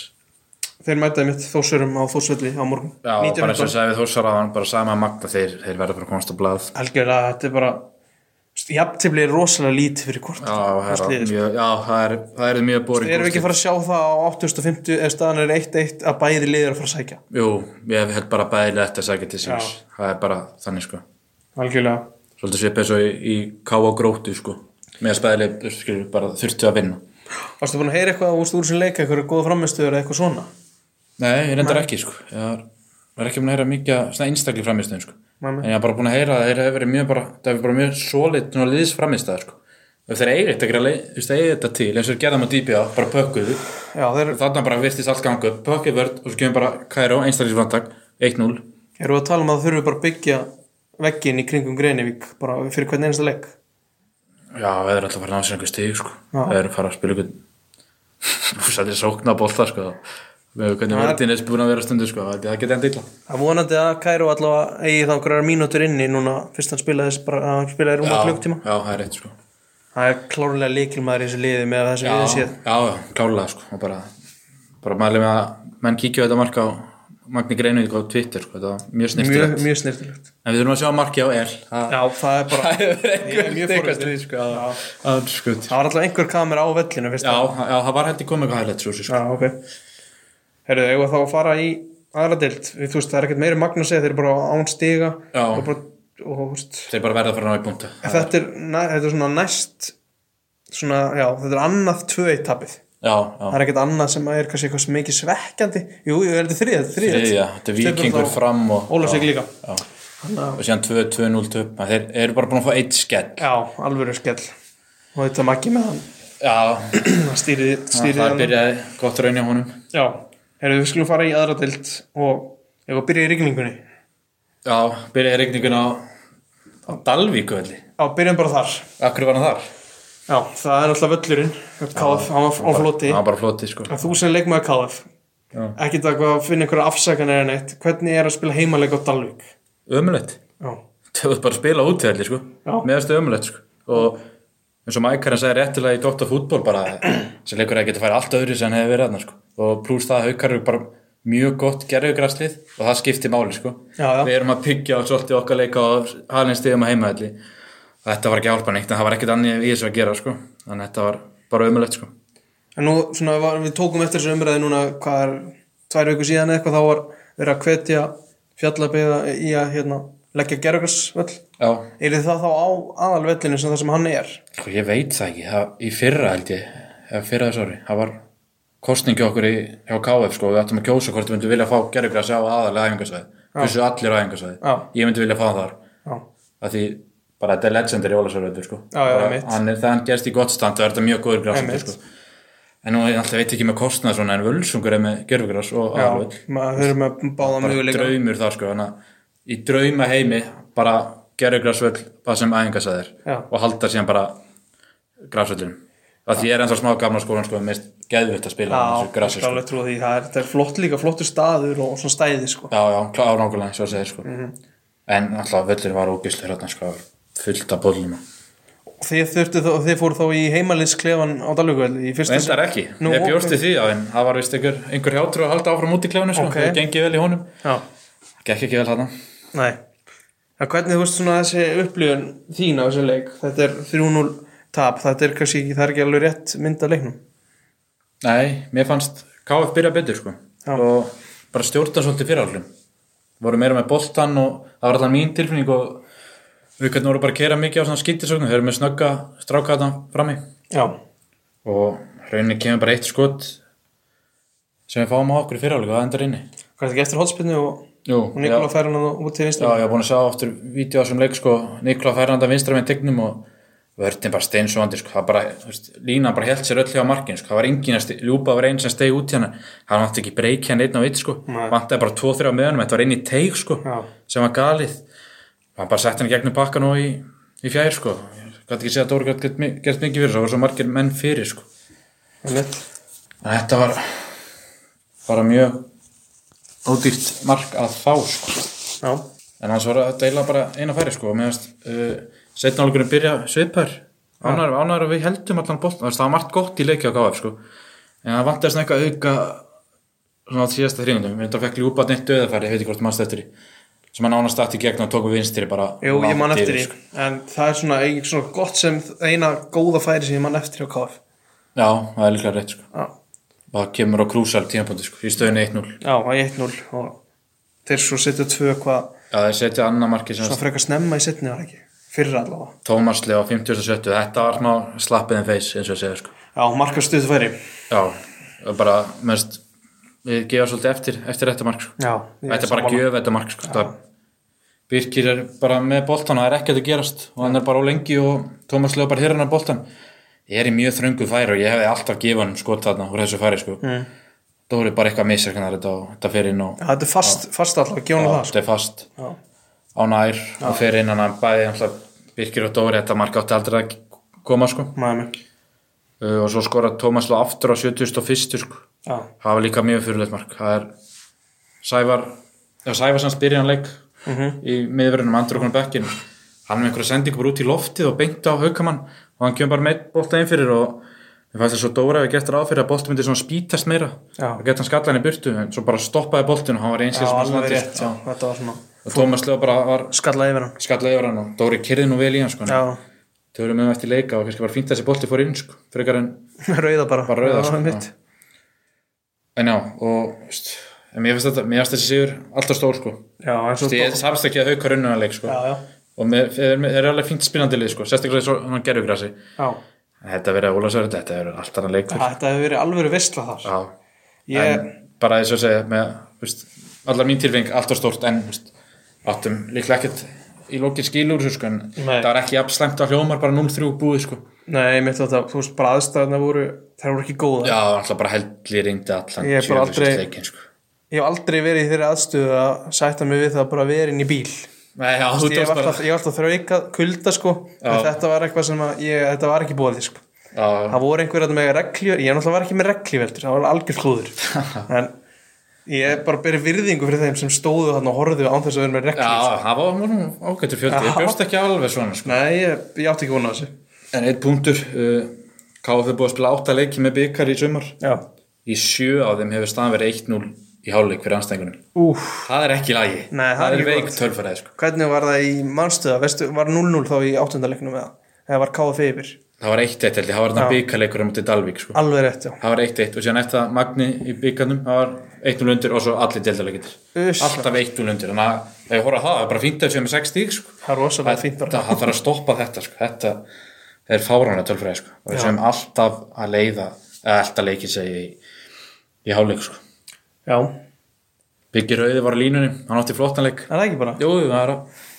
Speaker 2: Þeir mætaði mitt þósurum á þósvelli á morgun
Speaker 1: Já, bara eins og
Speaker 2: 19.
Speaker 1: sagði við Þórsara hann bara sama magna þeir, þeir verða bara komast á blað
Speaker 2: Algjörlega, þetta er bara jafntefli er rosalega lítið fyrir hvort
Speaker 1: Já, það er,
Speaker 2: sliðið,
Speaker 1: mjög, já, það er, það er mjög boring
Speaker 2: Erum við ekki að fara að sjá það á 850 ef staðan er 1-1 að bæði liðir að fara að sækja
Speaker 1: Jú, ég held bara bæðilega þetta að segja til síns Það er bara þannig sko
Speaker 2: Algjörlega
Speaker 1: Svolítið svipið svo í, í ká og grótu sko Með að spæðilega skilur bara þurftu að vinna
Speaker 2: Varstu búin að heyra eitthvað úr úr sem leika eitthvað góða framistuður eða eitthvað svona
Speaker 1: Nei, ég reyndar ekki sko Ég var, var ekki búin að heyra mikið að- svona einstakli framistæðin sko
Speaker 2: Nei, nei.
Speaker 1: En ég var bara búin að heyra að þeir hefur verið mjög bara Það hefur bara mjög solid liðs framistæðar sko ef þeir eigi þetta, greið- þú veist, eigi þetta til eins og þeir gerða með dýpja, bara pökkuðu
Speaker 2: Já, þeir
Speaker 1: þarna bara virtist allt ganga upp, pökkuð vörð og svo kemur bara Kæró, einstaklingsvantak 1-0
Speaker 2: eru að tala um að það þurfum bara að byggja veggin í kringum Greinivík bara fyrir hvern einasta leik
Speaker 1: já, það er alltaf að fara að ná sér einhver stíg sko.
Speaker 2: Já.
Speaker 1: það er að fara að spila einhvern [laughs] sættir sókna bólta sko. með hvernig verðin er búin að vera stundu sko. það geti enda illa
Speaker 2: Það er vonandi að Kæró allavega eigi þá einhverjar mínútur inni núna fyrst hann spilaði þessi bara að hann spilaði rúma klukktíma.
Speaker 1: já, það er rétt sko.
Speaker 2: Það er klárlega líkilmaður í þessu liði með það sem við
Speaker 1: já,
Speaker 2: höfum
Speaker 1: já,
Speaker 2: séð.
Speaker 1: já, klálega sko. og bara, bara mæli með að menn kíkja á þetta mark á Magni Greinvík á Twitter sko. það var mjög snirtilegt
Speaker 2: Mjög, mjög snirtilegt.
Speaker 1: en við þurfum að sjá marki á L [laughs]
Speaker 2: Já, það er bara, Ég er mjög forvitinn.
Speaker 1: það sko.
Speaker 2: það var allavega einhver kamera á vellinu fyrst.
Speaker 1: já, já, það var hætti komið hvað hægt sko.
Speaker 2: Já, ok. Herru, eigum við þá að fara í aðra deild. Við- Þú veist, það er ekkert meiri magna að segja, þeir eru bara án stiga
Speaker 1: Já.
Speaker 2: og bara, og þú veist,
Speaker 1: þeir bara verða að fara að ná í punktu
Speaker 2: en þetta er, næ, þetta er svona næst, svona, já, þetta er annað 2-1 tapið.
Speaker 1: já, já
Speaker 2: Það er ekkert annað sem er kannski eitthvað sem mikið svekkjandi. Jú, jú, er þetta þriðið? Þetta er þriðið.
Speaker 1: þriðja, þetta er vikingur fram og,
Speaker 2: Ólafsvík líka.
Speaker 1: já. og síðan 2-2-0 töp þeir eru bara búin að fá eitt skell
Speaker 2: Já, alvöru skell. Og þetta makki með hann.
Speaker 1: já,
Speaker 2: Það stýrið, stýrið
Speaker 1: það
Speaker 2: hann.
Speaker 1: byrjaði gott raun hjá honum
Speaker 2: Já, herru, við skulum fara í aðra deild og ef að byrja í rigningunni.
Speaker 1: já, byrjaði regningun á, á Dalvíku velli,
Speaker 2: Já, byrjum bara þar.
Speaker 1: akkur var hann þar
Speaker 2: Já, það er alltaf völlurinn. KF, hann var á floti.
Speaker 1: hann var bara floti sko
Speaker 2: En þú sem leikmaður KF,
Speaker 1: Já.
Speaker 2: ekkert að hvað finna einhverja afsakanir en eitt. Hvernig er að spila heimaleik á Dalvík?
Speaker 1: ömulegt,
Speaker 2: Já,
Speaker 1: þau voru bara að spila út velli sko,
Speaker 2: Já.
Speaker 1: meðastu ömulegt sko og eins og Mækarinn sagði réttilega í Dóttar fútból bara [clears throat] sem leikur að geta færi allt öðru sem hefur verið hann sko. og pluss það haukar eru bara mjög gott gerðugraslið og það skipti máli sko
Speaker 2: já, já.
Speaker 1: við erum að byggja á svolítið okkar leika á halin stigum að heimaðalli þetta var ekki álpa neitt en það var ekkert annið í þessu að gera sko. þannig að þetta var bara ömulegt sko.
Speaker 2: En nú, svona, var, við tókum eftir þessu umræði núna, hvað er, tvær viku síðan eða eitthvað, þá var verið að hvetja fjallabíða í að, hérna, leggja gerðugarsvöll.
Speaker 1: já,
Speaker 2: Er það þá á aðalvellinu sem það sem hann er?
Speaker 1: sko, ég veit það ekki það, í fyrra held ég, eða fyrra þessu ári það var kostningi okkur í, hjá KF sko, við ættum að kjósa hvort við myndum vilja fá gerðugras á aðalega æfingasæði hversu allir æfingasæði,
Speaker 2: Já.
Speaker 1: ég myndi vilja fá hann þar
Speaker 2: Já,
Speaker 1: að því bara þetta er legendary Ólasarvöldur sko.
Speaker 2: Já, já,
Speaker 1: Bara
Speaker 2: einmitt.
Speaker 1: hann er það hann gerst í gott stand og er þetta mjög góður græsandi
Speaker 2: Einmitt.
Speaker 1: sko. en nú ég alltaf veit ekki með kostnað svona en völsungur er með gerfugræs og
Speaker 2: já,
Speaker 1: aðalvöll
Speaker 2: maður höfum með báða
Speaker 1: bara
Speaker 2: möguleika.
Speaker 1: draumur þar sko hana, í drauma heimi bara gerfugræsvöll það sem æfingasæðir
Speaker 2: Já.
Speaker 1: og halda síðan bara græsvöllin að því ég er ennþá smá gamla skólan sko mest geðvitt að spila á
Speaker 2: Já,
Speaker 1: þessu
Speaker 2: ég
Speaker 1: grasi
Speaker 2: skal
Speaker 1: sko.
Speaker 2: alveg trúa því, það er, það er flott líka, flottur staður og svona stæði, sko.
Speaker 1: já, já, klára nákvæmlega svo að segja sko
Speaker 2: Mhm.
Speaker 1: en alltaf völlin var ógislega hérna sko fullt af bólum
Speaker 2: Og þið þurftu þá, þið fóru þá í heimalinsklefan á Dalvíkvöld í fyrsta
Speaker 1: Reyndar ekki,
Speaker 2: Nú,
Speaker 1: ég bjóst
Speaker 2: ok.
Speaker 1: í því já, en það var vist einhver, einhver hjátrú að halda áfram út í klefinu sko,
Speaker 2: Ok.
Speaker 1: það gengið vel í honum
Speaker 2: Já,
Speaker 1: gekk ekki vel þarna
Speaker 2: Nei. En hvernig þú veist svona þessi upplifun þín á þessu leik? Þetta er 3-0 tap, þetta er kannski ekki, það er ekki alveg rétt mynd af leiknum.
Speaker 1: Nei, mér fannst KF byrja betur sko
Speaker 2: Já.
Speaker 1: og bara stjórna svolítið fyrir allir voru meira með boltan og það var alltaf mín tilfinning og við hvernig voru bara að kera mikið á svona skýttisögnum þeir eru með snögga stráka þarna frammi
Speaker 2: Já.
Speaker 1: og rauninni kemur bara eitt skot sem við fáum á okkur í fyrirháleika og það endar inni
Speaker 2: Hvað er þetta ekki eftir hótspinnu og,
Speaker 1: Jú,
Speaker 2: og Nikola fær hann að- út til vinstri?
Speaker 1: Já, ég hef búin að sjá aftur vídeo sem leik sko, Nikla Færanda vinstra með tegnum og vörðin bara steinsóandi sko, það bara, þú veist, lína bara held sér öll hjá markin sko, það var engin að sti- ljúpa var einn sem stegi út hérna, hann vantti ekki breyki hann einn á eitt sko,
Speaker 2: Nei.
Speaker 1: vantaði bara tvo þrjá með hann, þetta var einn í teig sko,
Speaker 2: Já.
Speaker 1: sem var galið hann bara sett hann í gegnum pakkan og í, í fjær sko, gæti ekki segja að Dóri gæti gert mikið fyrir, það var svo margir menn fyrir sko,
Speaker 2: Einmitt.
Speaker 1: en þetta var bara mjög ódýrt mark að fá sko
Speaker 2: Já.
Speaker 1: En hans var að deila bara eina færi sko og meðanst uh, setna álugurinn byrja svipar ánæður, ánæður að við heldum allan bótt það var margt gott í leikja á KF sko en það vantast svona eitthvað auka svona á síðasta þrýningum, við þetta fekk ljúpað neitt döðafæri, ég veit ekki hvort mannst eftir því sem hann ánast aftur í gegn og tókum vinstri bara
Speaker 2: Jú, ég man
Speaker 1: langt
Speaker 2: eftir
Speaker 1: yfir,
Speaker 2: því.
Speaker 1: sko.
Speaker 2: En það er svona, ein- svona gott sem, eina góða færi sem ég man eftir hjá KF.
Speaker 1: Já, það er líklega rétt sko
Speaker 2: Já.
Speaker 1: og það kemur á krúsal tímapunkti sko í stöðinu 1-0
Speaker 2: Já, það er 1-0 og þeir svo setja tvö hvað,
Speaker 1: Já, þeir setja annar marki sem
Speaker 2: svona frekar snemma í setni var ekki. Fyrra allavega.
Speaker 1: Tómasli á 57 þetta var smá slappið en feis eins og ég segja sko
Speaker 2: Já, markastuð færi.
Speaker 1: Já, og bara mest, við gefa svolítið eftir, eftir þetta mark sko.
Speaker 2: Já. ég
Speaker 1: Þetta er bara
Speaker 2: sammála.
Speaker 1: að gjöf þetta mark sko. það Birkir er bara með boltan og það er ekkert að gerast og hann er bara á lengi og Tómas lögur bara hérna boltan ég er í mjög þröngu færi og ég hefði alltaf gefað hann skot þarna úr þessu færi sko mm. Dóri bara eitthvað misreknar þetta og þetta fer inn og
Speaker 2: Já, þetta er fast, fast alltaf, gjónu það sko.
Speaker 1: þetta er fast
Speaker 2: Já.
Speaker 1: á nær og fer inn hann að bæði alltaf Birkir og Dóri þetta mark átti aldrei að koma sko
Speaker 2: Maður minn.
Speaker 1: uh, og svo skora Tómas lög aftur á 71. sko
Speaker 2: Já.
Speaker 1: það var líka mjög fyrirleitt mark það er Sævar eða Sævar sem spyrir hann leik
Speaker 2: Mhm.
Speaker 1: í miðverðinum andur okkur bekkin hann er með einhverja sendingu bara út í loftið og beint á haukamann og hann kemur bara með bolta inn fyrir og ég fannst það svo dóra að við gert ráð fyrir að bolta myndi svona spítast meira
Speaker 2: Já.
Speaker 1: og gett hann skallan í burtu en svo bara stoppaði boltin og hann var
Speaker 2: Já,
Speaker 1: einskils
Speaker 2: alveg rétt, já. þetta var svona
Speaker 1: og Tómas Leo bara var
Speaker 2: skalla yfir hann
Speaker 1: skallaði yfir hann og Dóri kyrði nú vel í hann sko.
Speaker 2: Já, [laughs]
Speaker 1: þau eru með hann eftir leika og kannski var fínt að þessi bolti fór inn sko, frekar en
Speaker 2: rauða bara
Speaker 1: Bara rauða,
Speaker 2: Já,
Speaker 1: sko,
Speaker 2: mitt.
Speaker 1: En já, og veist, en mér finnst þetta, mér finnst þessi sigur alltaf stór sko.
Speaker 2: Já, eins og
Speaker 1: Því ég safst ekki að auka runnunarleik sko.
Speaker 2: Já, já,
Speaker 1: Og mér- þeir þeir eru alveg fínt spínandi lið sko, sérstaklega svo hann gerðugrasi.
Speaker 2: já
Speaker 1: En þetta verið að Ólasöður, þetta verið allt annan leik.
Speaker 2: Þetta hefur verið alvöru veistla þar
Speaker 1: Já,
Speaker 2: Ég,
Speaker 1: en bara þess að segja með, veist, allar mín tilfeng alltaf stórt en, veist, áttum líklega ekkert í lókin skilur þessu sko, en
Speaker 2: Nei.
Speaker 1: það var ekki jafnslæmt að hljómar bara 0-3 búið sko.
Speaker 2: nei, mitt þetta, þú veist, bara aðstæðuna voru Þær voru ekki góða
Speaker 1: Já, alltaf bara hellir reyndi allan
Speaker 2: Ég er bara
Speaker 1: 70%
Speaker 2: aldrei-
Speaker 1: leikinn sko.
Speaker 2: Ég hef aldrei verið í þeirri aðstöðu að sætta mig við það að bara vera inn í bíl
Speaker 1: Nei, já, þú
Speaker 2: Ég
Speaker 1: tókst
Speaker 2: hef
Speaker 1: bara.
Speaker 2: alltaf, ég hef alltaf þraukað kulda sko en þetta var eitthvað sem að ég, þetta var ekki bóðið sko
Speaker 1: Já,
Speaker 2: Það voru einhverjum með reglíu, ég náttúrulega var ekki með reglíveldur, það var algjör
Speaker 1: [laughs]
Speaker 2: klúður en ég bara beri virðingu fyrir þeim sem stóðu þarna og horfðu án þess að vera með reglíu
Speaker 1: Já, það var nú ágættur fjöldi, ég bjóst ekki alveg svona sko.
Speaker 2: Nei, ég, ég átti ekki vona þessu
Speaker 1: En eitt punktur, uh, KF er búið að spila átta leiki með byggar í sumar
Speaker 2: Já
Speaker 1: Í sjö á þeim hefur staðan verið 1-0 í háluleik fyrir anstæðingunum
Speaker 2: Úf,
Speaker 1: Það er ekki í lagi,
Speaker 2: Nei, það er
Speaker 1: er
Speaker 2: ekki
Speaker 1: veik tölfæraði sko.
Speaker 2: hvernig var það í mannstöða, veistu, var 0-0 þá í áttundaleiknum eða? Eða var KFI yfir?
Speaker 1: Það var 1-1 held ég, það var þarna byggarleikur um til Dalvík sko.
Speaker 2: Alveg rétt, já
Speaker 1: Það var 1-1 og síðan eftir það Magni í byggarnum, það var 1-0 undir og svo allir deildarleikitir
Speaker 2: Uss.
Speaker 1: Alltaf 1-0 undir, þannig að ef ég horfa á það, það er bara fínt að séu með 6 stík sko.
Speaker 2: Það er rosalega fínt bara
Speaker 1: þetta, það þarf að stoppa þetta sko. þetta er fáránlega tölfræði sko. og við séum alltaf að leiða eða alltaf leikið segi í, í háleik sko.
Speaker 2: Já,
Speaker 1: Byggi Rauði var á línunni, hann átti flottanleik
Speaker 2: er það ekki bara?
Speaker 1: Jú, það var,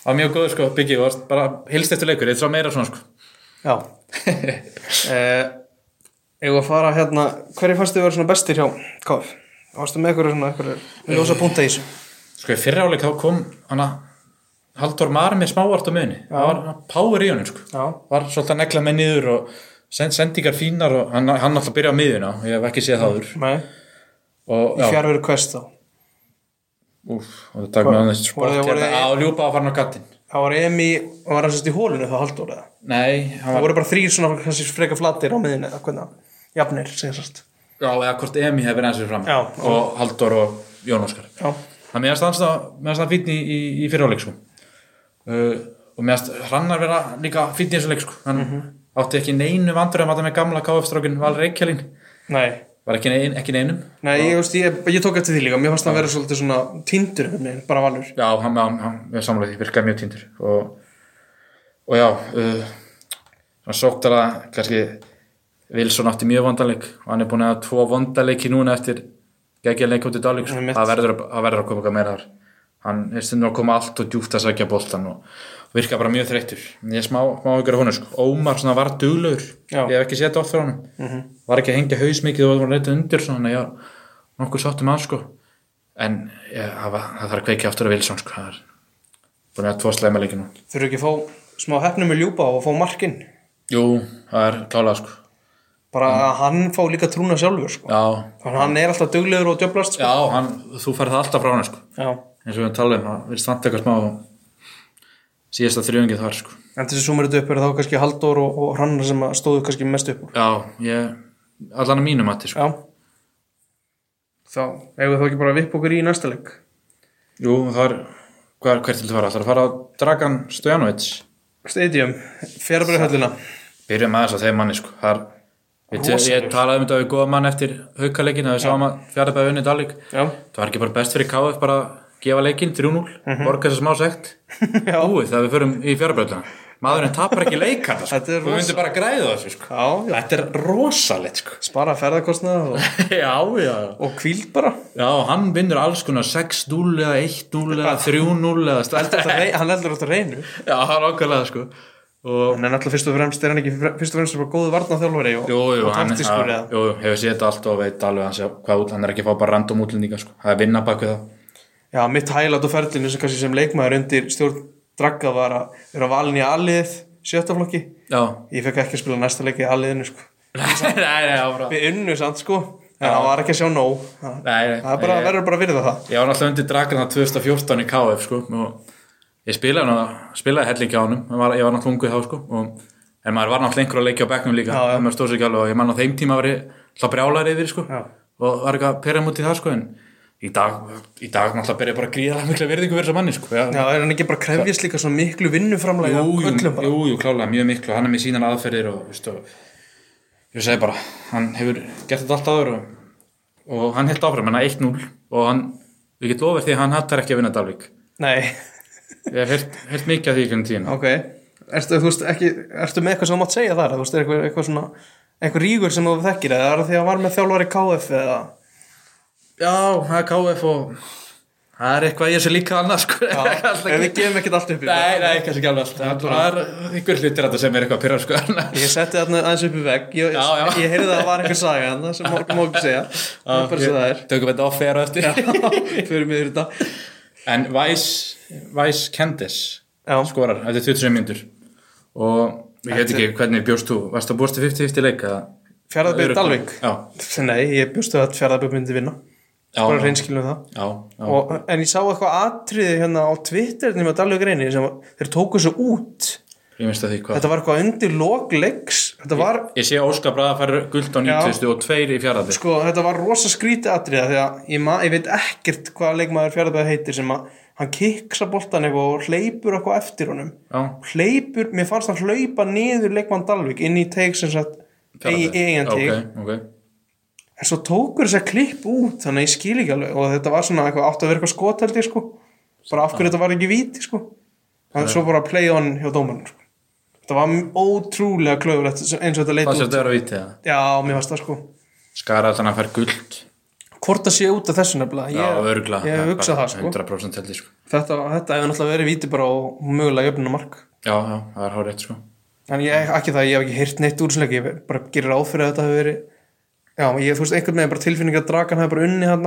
Speaker 1: það var mjög góð sko. Byggi, þú varst bara hilst eftir leikur, ég þrá meira svona sko.
Speaker 2: Já [laughs] eh, Ég að fara hérna, hverju fannst þið vera svona bestir hjá KF? Varstu með eitthvað svona, eitthvað ljósa púnta í þessu?
Speaker 1: sko í fyrra áleik þá kom hann að Haldur Mari með smávart á miðunni það var hann power í honum sko.
Speaker 2: Já.
Speaker 1: var svolítið að negla með niður og send, sendingar fínar og hann, hann alltaf byrja á miðuna ég hef ekki séð það áður
Speaker 2: Nei
Speaker 1: og, já,
Speaker 2: Fjárveru quest þá
Speaker 1: úf, og það takk með hann þessi sport
Speaker 2: Voruð þið-
Speaker 1: hérna
Speaker 2: voruð þið-
Speaker 1: að ljúpa að fara á gattinn
Speaker 2: Það var Emi, og var hann sérst í hólinu þá haldur það
Speaker 1: Nei, hann
Speaker 2: Það
Speaker 1: var,
Speaker 2: voru bara þrýr svona kannski freka flatir á miðinu eða hvernig Jafnir, segjast sérst
Speaker 1: já, eða hvort Emi hefur verið eins og fram
Speaker 2: Já.
Speaker 1: og Halldór og Jón Óskar
Speaker 2: Já,
Speaker 1: Það meðast hans það, meðast það fínn í, í, í fyrirháleik sko. uh, og meðast Hrannar vera líka fínn í þessu leik sko. hann átti ekki neinu vandröðum að það með gamla KF-strákin Val Reykjálin
Speaker 2: nei
Speaker 1: var ekki, nein, ekki neinum
Speaker 2: Nei, ég, veist, ég, ég tók eftir því líka, mér fannst það að vera svolítið svona tindur, bara valur
Speaker 1: Já, hann, hann, hann er samlega því, virkaði mjög tindur og, og já uh, hann sóktar að kannski Wilson átti mjög vandaleg og hann er búin að hafa tvo vandalegi núna eftir geggjað leik átti dálik
Speaker 2: Einmitt.
Speaker 1: sko. það verður, að- það verður að koma eitthvað meira þar hann er stundum að koma allt og djúpt að sækja boltan og, og virka bara mjög þreyttur En ég er smá, smá ykkur á honum sko. Ómar svona var duglegur
Speaker 2: Já. Mhm.
Speaker 1: ég hef ekki séð þetta oft frá honum var ekki að hengja haus mikið og var leitað undir svona, þannig að ég var nokkuð sáttum að sko en ég, það, var, það þarf að kveikja aftur að Wilson sko, það er búin að hafa tvo slæma leiki nú
Speaker 2: Þurfu ekki að fá smá hefnum með ljúpa og fá markinn
Speaker 1: Jú, það er klálega sko
Speaker 2: Bara að hann fá líka trúna sjálfur, sko
Speaker 1: Já,
Speaker 2: Þannig að hann er alltaf duglegur og djöblast, sko
Speaker 1: já hann, þú færð það alltaf frá hann sko
Speaker 2: Já
Speaker 1: eins og við talum, það virðist vant eitthvað smá síðasta þrjöngið þar sko
Speaker 2: En þessi sumur þetta upp er þá kannski Halldór og, og Hrannar sem að stóðu kannski mest upp úr
Speaker 1: Já, ég, allan að mínum að sko
Speaker 2: Já Þá, eigum við þá ekki bara að vippa okkur í næsta leik
Speaker 1: Jú, það er, hvað er, hvert til þú fara? Það er að fara á Dragan Stojanovic
Speaker 2: Stadium, fjarabrið höllina
Speaker 1: Byrjum aðeins á þeim manni sko Það er, ég, ég
Speaker 2: Rosalegur.
Speaker 1: talaði um þetta við góða mann eftir haukaleikina, við sáum að fjartabæði unnið dalík
Speaker 2: Já,
Speaker 1: Það var ekki bara best fyrir KF bara að gefa leikinn 3-0, borga þess að smá sekt
Speaker 2: Mhm. [laughs] Já.
Speaker 1: Búið þegar við förum í fjárbröðluna maðurinn tapar ekki leikana sko.
Speaker 2: Þetta er
Speaker 1: þú myndir bara græða þessu sko.
Speaker 2: Já, já.
Speaker 1: þetta er rosalegt sko.
Speaker 2: Spara ferðarkostnað og,
Speaker 1: já, [laughs] já,
Speaker 2: og kvíld bara.
Speaker 1: já hann vinnur alls konar 6-0 eða 1-0 eða 3-0 eða
Speaker 2: [laughs] Þetta
Speaker 1: stælt
Speaker 2: rey- Hann heldur alltaf reynu.
Speaker 1: já, hann okkarlega sko. og,
Speaker 2: En hann er alltaf fyrst og fremst, er hann ekki fyrst og fremst bara góðu varnaþjálfari og,
Speaker 1: jú, jú,
Speaker 2: og
Speaker 1: hann
Speaker 2: taktískur
Speaker 1: já,
Speaker 2: eða.
Speaker 1: jú, jú, hefur séð þetta allt og veit alveg hans, hvað, út- hann er ekki að fá bara random útlendinga sko. það er vinna bak við það
Speaker 2: Já, mitt hælat og ferlinu sem kannski sem leikmaður undir stjórn dragga var að vera valin í allið sjöttaflokki.
Speaker 1: já, [laughs]
Speaker 2: Ég fekk ekki að spila næsta leik í alliðinu sko.
Speaker 1: nei, nei, nei, áfram.
Speaker 2: Við unnu samt sko, en hann var ekki að sjá nóg. Það
Speaker 1: nei, nei,
Speaker 2: það er bara,
Speaker 1: ég-
Speaker 2: verður bara að virða það.
Speaker 1: Ég var náttúrulega undir drakarna 2014 í KF sko og ég spilaði, hana, spilaði helling hjá honum, Hann var, ég var náttúrulega ungu þá sko og, en maður var náttúrulega einhver að leikja á bekknum líka
Speaker 2: Já, já.
Speaker 1: það maður stóð sér ekki alveg og ég man á þeim tíma var ég alltaf brjálar yfir sko
Speaker 2: Já.
Speaker 1: og var eitthvað að perja mútið það sko en í dag, í dag náttúrulega ber ég bara gríðalega mikla verðingu fyrir þessa manni sko
Speaker 2: Já, er hann ekki bara að krefjast líka svona miklu vinnuframlega
Speaker 1: jú, jú,
Speaker 2: öllum bara?
Speaker 1: jú, jú, klálega mjög miklu og hann er með sínan aðferðir og, veist, og ég segi bara, hann hefur gert þetta allt áður og, og hann held áfram, hann er 1-0 og hann, við getum lofið því að hann hattar ekki að vinna Dalvik
Speaker 2: Nei,
Speaker 1: Ég hef heyrt, heyrt mikið af því ekki um tíma.
Speaker 2: ok. Ertu, þú veist, ekki, ertu með eitthvað sem þú mátt segja þar? Þú veist, er eitthvað, eitthvað svona, eitthvað rígur sem þú þekkir eða er það því að hann var með þjálfari KF eða?
Speaker 1: Já, það er KF og það er eitthvað ég sé líka annað [laughs] sko.
Speaker 2: [laughs] Já,
Speaker 1: Alltaf
Speaker 2: en við
Speaker 1: ekki-
Speaker 2: gefum ekkert allt upp í það.
Speaker 1: Nei, nei, kannski ekki alveg allt. Það er einhver hlutir þetta sem er eitthvað pyrrar sko.
Speaker 2: Ég setti þarna aðeins upp í vegg, ég,
Speaker 1: Já, já.
Speaker 2: ég heyrði að það var einhver saga þarna sem má, má ekki segja, það er bara svo það er,
Speaker 1: Tökum þetta off air á [laughs] eftir.
Speaker 2: fyrir mig þetta.
Speaker 1: En Vice, Vice Candice
Speaker 2: Já.
Speaker 1: skorar eftir 27 myndur og ég veit ekki hvernig bjóst þú. Varst það búst til 50-50 leik? eða-
Speaker 2: Fjarðabyr
Speaker 1: Öruggur?
Speaker 2: Dalvik?
Speaker 1: Já.
Speaker 2: Nei, ég bjóstu að Fjarðabyr myndi vinna,
Speaker 1: Já,
Speaker 2: bara reynskilum það.
Speaker 1: Já, já.
Speaker 2: Og, en ég sá eitthvað atriði hérna á Twitter nema Dalvik reyni sem var- þeir tóku svo út,
Speaker 1: Ég minnst að því hvað.
Speaker 2: þetta var eitthvað undir lokleiks, þetta var,
Speaker 1: Ég sé Óskar Braða fara guld á 90 og tveir í fjaraði.
Speaker 2: sko, þetta var rosa skríti atriða því að ég, ma- ég veit ekkert hvað leikmaður Fjarðabyr heitir sem að hann kiksa boltan eitthvað og hleypur eitthvað eftir honum.
Speaker 1: Já.
Speaker 2: hleypur, mér fannst hann hleypa niður leikmann Dalvik inn í teik sem sagt eigin eigin teik,
Speaker 1: Ok, ok.
Speaker 2: en svo tókur þess að klipp út þannig að ég skil ekki alveg og þetta var svona eitthvað átt að vera eitthvað skoteldi sko bara af hverju þetta var ekki víti sko þannig svo bara play on hjá dómarinn sko. þetta var m- ótrúlega klöfulegt sem- eins og þetta leit
Speaker 1: Það
Speaker 2: út
Speaker 1: sé þetta vera vitið það.
Speaker 2: já, mér fannst það sko
Speaker 1: Skara þannig að fær guld.
Speaker 2: hvort það sé út af þessu nefnilega
Speaker 1: Já,
Speaker 2: ég,
Speaker 1: örgla.
Speaker 2: ég hef hugsað það sko
Speaker 1: 100% held ég sko.
Speaker 2: þetta, þetta hefur náttúrulega verið víti bara og mögulega jöfnuna mark
Speaker 1: Já, já, það er hárið sko.
Speaker 2: En ég, ekki það, ég hef ekki heyrt neitt úr sem leik, ég bara gerir áfyrir að þetta hafi verið Já, ég, þú veist, einhvern veginn bara tilfinning að Dragan hafi bara unni hann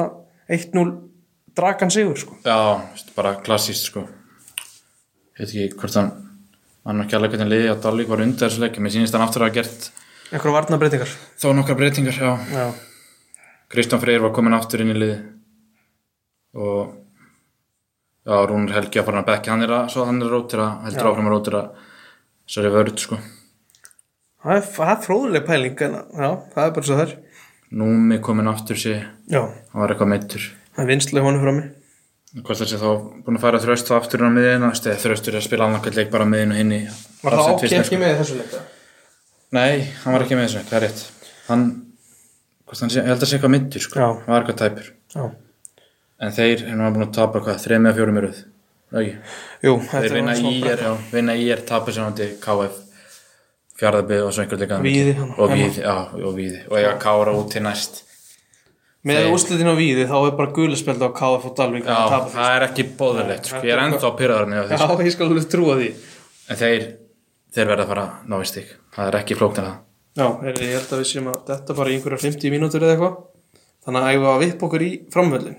Speaker 2: 1-0 Dragan sigur, sko
Speaker 1: Já, veist, bara klassíst sko. Ég veit ekki hvort hann, hann ekki alveg hvernig liði að Dalík var undir þessu leik. Mér sýnist hann aftur að hafa gert
Speaker 2: Einhverja varnarbreytingar
Speaker 1: þó nokkar breytingar. Já,
Speaker 2: Já,
Speaker 1: Kristján Freyr var komin aftur inn í liði og já, Rúnar Helgi að fara hann að bekki. Hann er að, svo hann er að rótira, heldur áfram að rótira þessari vörð sko.
Speaker 2: það er, það er fróðuleg pæling en, Já, það er bara svo þær
Speaker 1: Númi komin aftur sér,
Speaker 2: Já,
Speaker 1: hann var eitthvað meittur.
Speaker 2: það er vinslega honum frá mig
Speaker 1: Hvort það sé þá búin að færa þröst þá aftur inn á miðina, þú veist, eða þröstur er að spila annarkvæmt leik bara á miðinu hinn í
Speaker 2: Var það
Speaker 1: Allt sem
Speaker 2: ákveð
Speaker 1: tvist,
Speaker 2: ekki með í þessu leika?
Speaker 1: sko. Nei, hann var ekki með þessu, það er rétt Hann, hvort hann sé, ég held að sé eitthvað myndur, sko
Speaker 2: Já.
Speaker 1: Hann var eitthvað tæpur
Speaker 2: Já
Speaker 1: En þeir er nú búin að tapa hvað, þreim eða fjórum eruð Nei,
Speaker 2: Jú,
Speaker 1: þeir
Speaker 2: var
Speaker 1: vinna
Speaker 2: svona
Speaker 1: í er, já, vinna í er tapa sem hundi KF Fjarðabið og svo einhver leika
Speaker 2: Víði, hann-
Speaker 1: Og víði, já, og víði Og ég að kára út til næst
Speaker 2: Með úrslitin á víði þá er bara gulaspelda á KF og Dalvík
Speaker 1: Já,
Speaker 2: að tapa.
Speaker 1: það er ekki bóðilegt, sko Ég er ennþá pyrraðarni á því,
Speaker 2: Já, ég skal alveg trúa því
Speaker 1: En þeir, þeir verða að fara að ná í stig. Það er ekki flóknir það.
Speaker 2: Já, heyrðu, ég held að við séum að þetta bara í einhverja 50 mínútur eða eitthvað Þannig að æfa að vipp okkur í framvöllin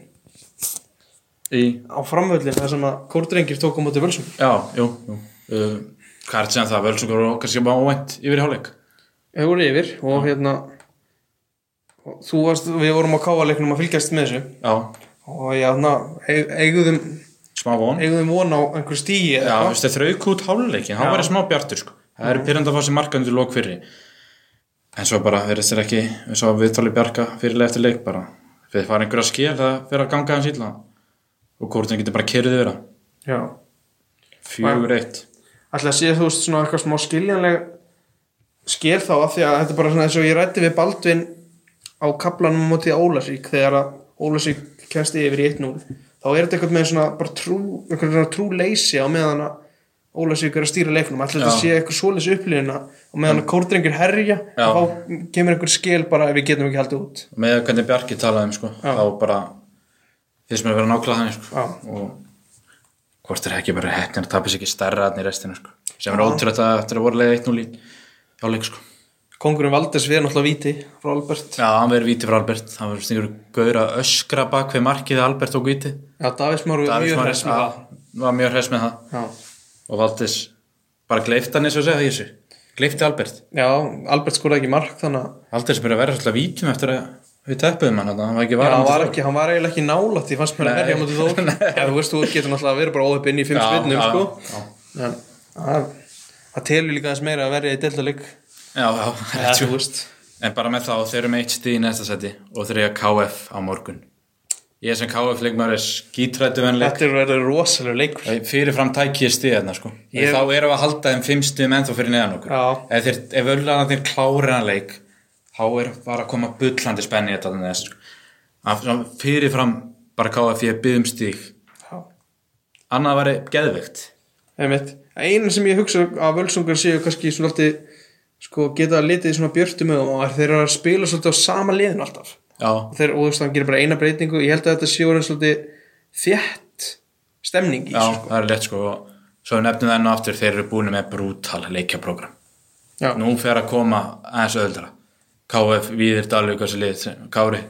Speaker 1: Í?
Speaker 2: Á framvöllin þar sem að kórdrengir tók á móti völsum
Speaker 1: Já, jú, jú. Uh, hvað er sem það? Völsungur og kannski bara óvænt yfir í hálfleik.
Speaker 2: Þau voru yfir og hérna og Þú varst, við vorum á káaleiknum að fylgjast með þessu
Speaker 1: Já,
Speaker 2: Og já, na, eigum
Speaker 1: smá von.
Speaker 2: eigum von á einhver stíi
Speaker 1: Já, þú
Speaker 2: eða eitthvað
Speaker 1: veist, þeir þrauk út hálfleikin. Það var smá bjartur, sko. Það er pyrrandi að fá sér markandur lók fyrir. En svo bara verðist þeir ekki, eins og viðtalið bjarga fyrirlega eftir leik bara. Þeir fara einhverja skil að vera að ganga hans ítla. Og kórtin getur bara kerðið vera.
Speaker 2: Já,
Speaker 1: Fjögur eitt.
Speaker 2: ætli að sé þú veist svona eitthvað smá skiljanleg skil þá af því að þetta er bara svona eins og ég rætti við Baldvin á kaplanum á móti Ólasík þegar að Ólasík kennst yfir í 1-0 þá er þetta eitthvað með svona bara trú, eitthvað svona trú leysi á meðan að Óla Sigur er að stýra leiknum ætla þetta
Speaker 1: Já. Mm.
Speaker 2: sé eitthvað svoleiðs upplýðina og meðan að kórdrengir herja
Speaker 1: Já.
Speaker 2: þá kemur einhver skil bara ef við getum ekki haldið út
Speaker 1: með hvernig Bjarki talaði um sko,
Speaker 2: Já.
Speaker 1: þá bara finnst mér að vera nákvæmlega þannig
Speaker 2: Já.
Speaker 1: sko. og hvort er ekki bara heppnir að tapis ekki stærra þarna í restinu sko. sem er ótrúlega að eftir að voru leiði 1-0 í hjáleik sko.
Speaker 2: Kongurinn Valdes við náttúrulega viti frá Albert
Speaker 1: Já, hann verður víti frá Albert hann verður stingur gauður að öskra bak við markið að Albert tók víti
Speaker 2: Já, Davís Már var
Speaker 1: Davíð
Speaker 2: mjög
Speaker 1: Smári
Speaker 2: hress með það
Speaker 1: að- var mjög hress með það
Speaker 2: Já.
Speaker 1: og Valdis bara gleifta hann eins og segja þessu gleifti Albert
Speaker 2: Já, Albert skoraði ekki mark þannig að
Speaker 1: Valdis er byrjað að vera svolítið vítum eftir að við teppuðum hann þarna, hann var ekki
Speaker 2: Já, hann
Speaker 1: varandi
Speaker 2: var,
Speaker 1: þá.
Speaker 2: ekki, hann var eiginlega ekki nálætt ég fannst mér
Speaker 1: [laughs]
Speaker 2: að
Speaker 1: Nei.
Speaker 2: verja á mútið þó Já, þú veist, þú getur náttúrulega að vera bara óhupp inn í fimm
Speaker 1: Já,
Speaker 2: spinnum
Speaker 1: já,
Speaker 2: sko.
Speaker 1: já.
Speaker 2: En, að- það telur líka aðeins meira að verja í deltalik
Speaker 1: Já, [laughs] já,
Speaker 2: Já, þú veist
Speaker 1: En bara með þá, þeir eru með eitt stíð í næsta seti og þeir eru KF á morgun. Ég sem KF-leikmaður er skítrættu venleik.
Speaker 2: Þetta er verið rosalega leikur
Speaker 1: Fyrirfram tæki ég stíð hérna, sko.
Speaker 2: Ég-
Speaker 1: Ég... Þá erum við að halda þeim fimm stíðum ennþá fyrir neðan okkur.
Speaker 2: Já.
Speaker 1: Ef, þeir, ef öllanaðir klárir hann leik, þá er bara að koma bullandi spenni í þetta þannig þess, sko. Að svona Fyrirfram bara KF ég byggðum stíð.
Speaker 2: Já
Speaker 1: Annað væri geðveikt.
Speaker 2: Einmitt. Einu sem ég hugsa að völsungar séu kannski svolítið sko, geta litið í svona björtum og er þeir eru að spila svolítið á sama liðin alltaf
Speaker 1: Já.
Speaker 2: og þeir og þú veist, hann gerir bara eina breytingu ég held að þetta séu orðin svolítið þétt stemning í
Speaker 1: Já,
Speaker 2: þessu,
Speaker 1: það er létt, sko. Og Svo við nefnum það enn og aftur, þeir eru búin með brútal leikjaprógram.
Speaker 2: Já.
Speaker 1: nú fer að koma aðeins öðuldra KF, Víðir, Dalvík, þessi lið sem- Kári,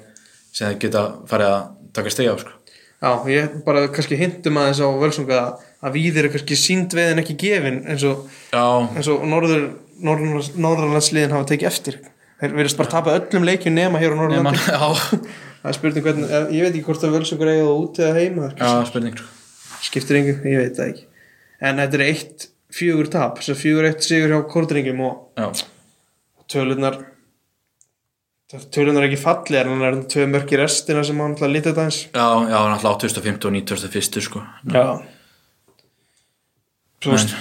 Speaker 1: sem þeir geta farið að taka stegja á sko.
Speaker 2: Já, ég bara kannski hintum aðeins á völsunga að, að víðir er kannski sínd veiðin ekki gefin eins og,
Speaker 1: Já,
Speaker 2: eins og norður, norður, norðurlandsliðin hafa tekið eftir þeir verðist bara tapa öllum leikjum nema hér á
Speaker 1: nema,
Speaker 2: [laughs] Norðurlandi
Speaker 1: já,
Speaker 2: það er spurning hvernig, eh, ég veit ekki hvort að völsungar eiga það út eða heima það er
Speaker 1: já, spurning sko.
Speaker 2: skiptir engu, ég veit það ekki en þetta er eitt fjögur tap þess að fjögur eitt sigur hjá kórdringum og
Speaker 1: Já,
Speaker 2: tölunar tölunar er ekki fallir en það er tvö mörk í restina sem hann alltaf lítið aðeins
Speaker 1: já, já, náttúrulega 2015 og 2001 sko.
Speaker 2: já Svo,
Speaker 1: En
Speaker 2: veist,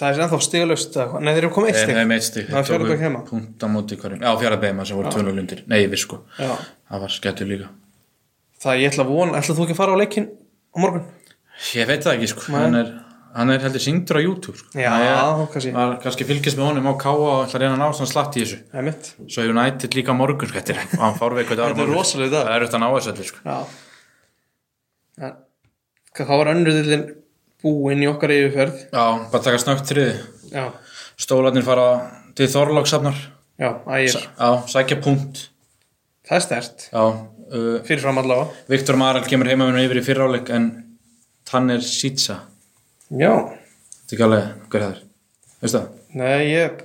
Speaker 2: það er ennþá stiglaust eða hvað. nei þeir eru komið eitt
Speaker 1: þeir
Speaker 2: stig
Speaker 1: hefum eitt stig
Speaker 2: Það er Fjarðabyggð heima.
Speaker 1: Punkt á móti hverjum, já, Fjarðabeima sem voru tölur lundir Nei, yfir sko,
Speaker 2: Já.
Speaker 1: það var skettur líka
Speaker 2: það ég ætla að vona, ætla þú ekki að fara á leikin á morgun?
Speaker 1: Ég veit það ekki sko, hann er, hann er heldur syngdur á YouTube sko.
Speaker 2: Já,
Speaker 1: Það er-
Speaker 2: kannski.
Speaker 1: maður kannski fylgist með honum á káa og ætla að reyna að ná svona slatt í þessu
Speaker 2: það er mitt
Speaker 1: Svo United líka á morgun sko, þetta er- og hann fór við eitthvað
Speaker 2: þetta er rosalega dag
Speaker 1: Það er auðvitað að ná þessu allir sko.
Speaker 2: já en, hvað hvað var önnurðillin búinn í okkar yfirferð
Speaker 1: Já, bara taka snögt þriði.
Speaker 2: já,
Speaker 1: Stólarnir fara til Þorlóksafnar.
Speaker 2: já, ægir
Speaker 1: Já, sækja punkt.
Speaker 2: það er stert,
Speaker 1: Já, uh,
Speaker 2: fyrirfram allavega
Speaker 1: Viktor Marel kemur heimavinu yfir í fyrráleik en Tanner Sitsa.
Speaker 2: Já,
Speaker 1: Þetta er ekki alveg hver það er. Veistu það?
Speaker 2: nei ég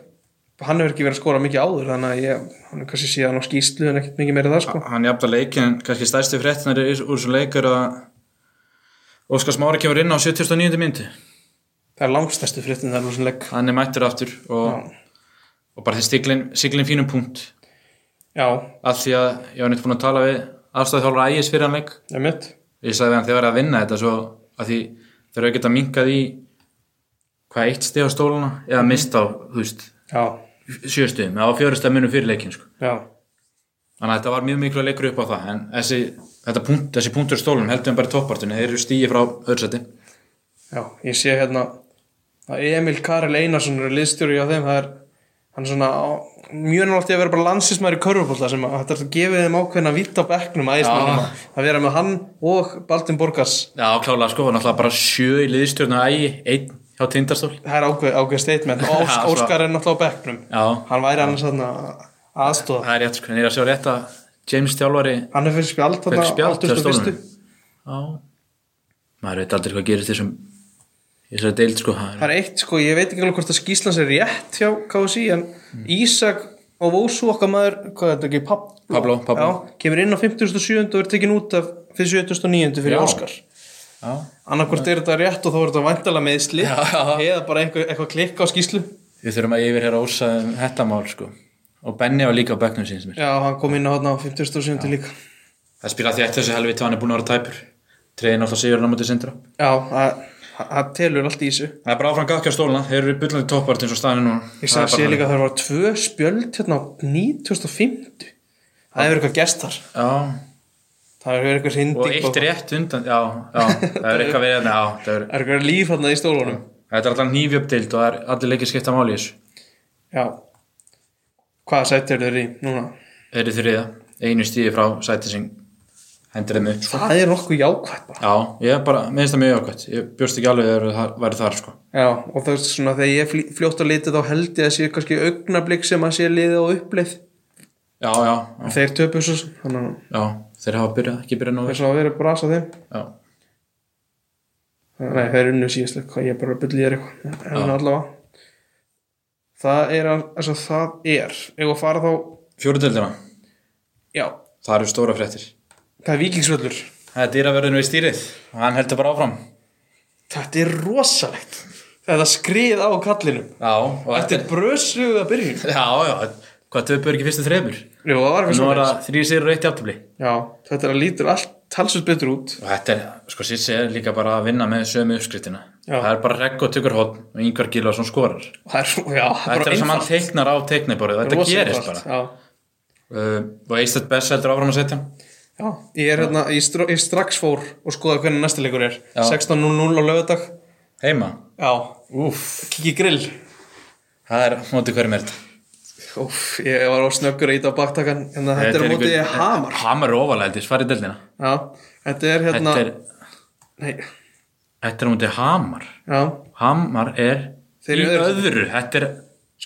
Speaker 2: hann hefur ekki verið að skora mikið áður þannig að ég, hann er kannski síðan á skýslu en ekkert mikið meira það sko
Speaker 1: Hann jafnda leikin en kannski stærsti fréttinar úr þessum leikur að Óskar Smári kemur inn á 79. myndi.
Speaker 2: það er langstæstu fréttin þar úr sem legg
Speaker 1: Hann er mættur aftur og, og bara þeir stiglin, siglin fínum punkt.
Speaker 2: Já,
Speaker 1: Allt því að ég var neitt búin að tala við aðstæðþjálfur ægis fyrir hann leik
Speaker 2: það er mitt
Speaker 1: ég sagði við hann þeir verið að vinna þetta svo að því þeir eru ekkert að minkað í hvað eitt stið á stóluna eða mist á, þú veist,
Speaker 2: Já,
Speaker 1: sjöstuðum eða á fjörustað munum fyrir leikin sko.
Speaker 2: já,
Speaker 1: þannig að þetta var mjög miklu að leikur upp á það en þessi, þetta punkt, þessi punktur í stólunum heldur við bara í toppartinu, þeir eru stíi frá öðursæti
Speaker 2: já, ég sé hérna að Emil Karel Einarsson er liðstjóri á þeim, það er hann er svona á, mjög náttúrulega að vera bara landsismæri í körfubólta sem að þetta er að gefa þeim ákveðna vitt á bekknum ægismennum að, að vera með hann og Baldin Borgars
Speaker 1: Já, klálega sko, náttúrulega bara sjö í liðstjórn og ægi, einn hjá tindastól
Speaker 2: það er ákveð, ákveð statement og
Speaker 1: [laughs] Já,
Speaker 2: Ós,
Speaker 1: svo-
Speaker 2: Óskar er náttúrulega á bekknum
Speaker 1: Já,
Speaker 2: hann væri annars þarna aðstoða
Speaker 1: það er rétt sko, en ég er að sjá rétt að James Þjálfari
Speaker 2: hann er fyrir spjald þarna
Speaker 1: Fékk spjald hjá
Speaker 2: 81..
Speaker 1: stólnum. Já, maður veit aldrei hvað gerist í þessum í þessari deild sko, það er
Speaker 2: það er eitt sko, ég veit ekki alveg hvort að skýslan sér rétt hjá KSI en Ísak og Vósu okkar maður hvað er þetta ekki, Pablo,
Speaker 1: Pablo, Pablo.
Speaker 2: Já, kemur inn á 57. og er tekin út af 57.9. fyrir
Speaker 1: Já.
Speaker 2: Óskar
Speaker 1: Já.
Speaker 2: annarkort er þetta rétt og þá er þetta væntalega meðsli
Speaker 1: Já, já.
Speaker 2: eða bara eitthvað, eitthvað klikka á skýslu
Speaker 1: Við þurfum að yfirherra ósa um þetta mál sko. Og Benni var líka á bekknum síns mér.
Speaker 2: já, hann kom inn á þarna á 57. líka
Speaker 1: Það spila því eitt þessu helviti og hann er búin að vera tæpur. Treiðin alltaf sigurinn á móti sindra.
Speaker 2: já, það- það telur allt í þessu
Speaker 1: Það er bara áfram gakki á stóluna. Þeir eru bullandi toppart eins og staðinu núna. Það
Speaker 2: Ég sagði
Speaker 1: er
Speaker 2: sé
Speaker 1: bara-
Speaker 2: líka að það var tvö spjöld hérna á 9050 Það hefur eitthvað gest þar
Speaker 1: Já,
Speaker 2: Það hefur eitthvað hinding
Speaker 1: og eitt rétt undan. Já, já, það er eitthvað við hérna. Já, það er,
Speaker 2: Það er eitthvað líf hérna í stólunum
Speaker 1: Þetta er alltaf nýfjöpdild og það er allir leikir skipta máli í þessu.
Speaker 2: Já. Hvaða sætt eru þeir í núna?
Speaker 1: Þeir eru þriða, einu stíði frá sæti sem hendur þeim upp. Sko.
Speaker 2: Það er nokkuð jákvætt bara.
Speaker 1: Já, ég er bara, minnst það mjög ákvæmt. Ég bjóst ekki alveg að það væri þar, sko.
Speaker 2: Já, og það er svona þegar ég flý- fljótt að lita þá held ég að sé kannski augnablik sem að sé liðið og upplið.
Speaker 1: Já, já, já,
Speaker 2: En þeir töpu svo, sem, þannig að
Speaker 1: já. Þeir hafa byrjað, ekki byrjað
Speaker 2: það
Speaker 1: nógu.
Speaker 2: er svo að vera brasa þeim.
Speaker 1: Já,
Speaker 2: Nei, þeir unnu síðast eitthvað, ég er bara að byrja þér eitthvað. En allavega. Það er, að- altså það er, ef að fara þá,
Speaker 1: fjórudildina,
Speaker 2: já,
Speaker 1: það eru stóra fréttir.
Speaker 2: það er vikingsvöllur.
Speaker 1: Það er dýraverðin við stýrið og hann heldur bara áfram.
Speaker 2: Þetta er rosalegt. Þetta skrið á kallinum.
Speaker 1: Já, og
Speaker 2: Þetta
Speaker 1: eftir...
Speaker 2: er brösuga byrjun.
Speaker 1: Já, já, hvað töpur ekki fyrstu þreymur?
Speaker 2: Jú, það var
Speaker 1: Nú
Speaker 2: eitthvað
Speaker 1: er
Speaker 2: svona.
Speaker 1: það þrý sigur og eitt játtabli.
Speaker 2: Já, þetta er að lítur allt talsvöld betur út.
Speaker 1: Og þetta er, sko, Sissi er líka bara að vinna með sömu uppskrittina.
Speaker 2: Já.
Speaker 1: Það er bara regg og tökur hotn og yngvar gila svona skorar.
Speaker 2: Og Það er, já, það er
Speaker 1: Þetta
Speaker 2: bara
Speaker 1: er sem hann
Speaker 2: einfalt.
Speaker 1: teiknar á teikniborðið, þetta
Speaker 2: Rosa
Speaker 1: gerist
Speaker 2: einfalt,
Speaker 1: bara. Uh, og Eistad Bess heldur áfram að setja.
Speaker 2: Já, já. Ég er hérna, ég, str ég strax fór og skoða hvernig næsta leikur er.
Speaker 1: Já.
Speaker 2: 16.00 á lögadag.
Speaker 1: Heima.
Speaker 2: Já,
Speaker 1: Úf.
Speaker 2: kikki grill.
Speaker 1: Það er, móti hverjum er þetta?
Speaker 2: Úf, ég var á snöggur að íta á baktakan, en þetta er á móti
Speaker 1: einhver-
Speaker 2: hamar.
Speaker 1: Hamar er ofalega, þetta er svarið delina.
Speaker 2: Já, þetta er hérna,
Speaker 1: Þetta er,
Speaker 2: nei,
Speaker 1: þetta er á móti hamar.
Speaker 2: já,
Speaker 1: Hamar er
Speaker 2: Þeir
Speaker 1: í
Speaker 2: eru
Speaker 1: öðru.
Speaker 2: öðru.
Speaker 1: Þetta er,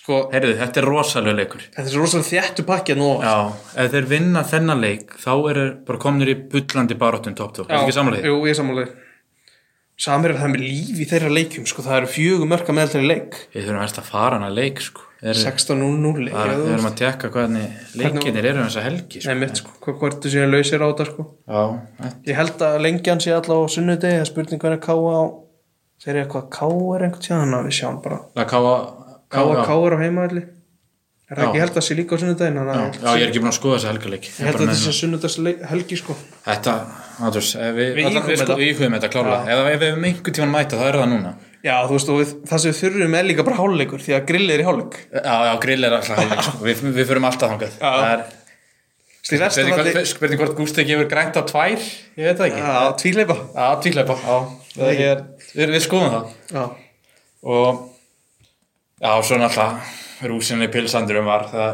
Speaker 2: sko,
Speaker 1: heyrðu, þetta er rosalega leikur.
Speaker 2: þetta er svo rosalega þjættu pakki að nú.
Speaker 1: Já, ef þeir vinna þennan leik, þá eru þeir bara komnir í bullandi baróttum top 2. Er ekki samanlega?
Speaker 2: Jú, ég er samanlega Samir er það með líf í þeirra leikjum sko, það eru fjögur mörka meðal þeirra leik
Speaker 1: Við þurfum helst að fara hana leik, sko. Er,
Speaker 2: 16-0-0 leik,
Speaker 1: það,
Speaker 2: já,
Speaker 1: við
Speaker 2: þú
Speaker 1: erum
Speaker 2: veist.
Speaker 1: að tekka hvernig leikinir eru þessa helgi,
Speaker 2: Nei,
Speaker 1: sko.
Speaker 2: mitt, sko, hvað- hvort þú séu lausir á þetta sko.
Speaker 1: Já,
Speaker 2: Ég held að lengjan sé allavega á sunnudegi það er spurning hvernig káa á þeir eru eitthvað káa er einhvern tíðan að við sjáum bara
Speaker 1: það káa...
Speaker 2: káa káa er á heimaðalli er það
Speaker 1: Já.
Speaker 2: ekki ég held að það sé líka á sunnudegin þannig að
Speaker 1: Já, ég er ekki búin að skoða þessa helgaleik.
Speaker 2: ég held að þetta sé sunnudags helgi sko
Speaker 1: Þetta, Andrús, ef við,
Speaker 2: Við
Speaker 1: allan- sko,
Speaker 2: íhugum þetta.
Speaker 1: við íhugum þetta klárlega. Ef, ef við hefum einhvern tíman mæta, það er það núna.
Speaker 2: Já, þú veist, og við, það sem við þurfum er líka bara háluleikur því að grill er í háluleik
Speaker 1: Já, já, grill er alltaf helgaleik. sko. Við, við förum alltaf þangað.
Speaker 2: Já.
Speaker 1: Það er,
Speaker 2: Sli
Speaker 1: spurning
Speaker 2: vestan
Speaker 1: hvort- spurning hvort Gústi gefur grænt á tvær, ég veit það ekki.
Speaker 2: að tvíleipa
Speaker 1: Já, tvíklepa, já. Það er, við, við skoðum það.
Speaker 2: Já
Speaker 1: Og, já, svo náttúrulega, rúsinni pilsandurum um var það,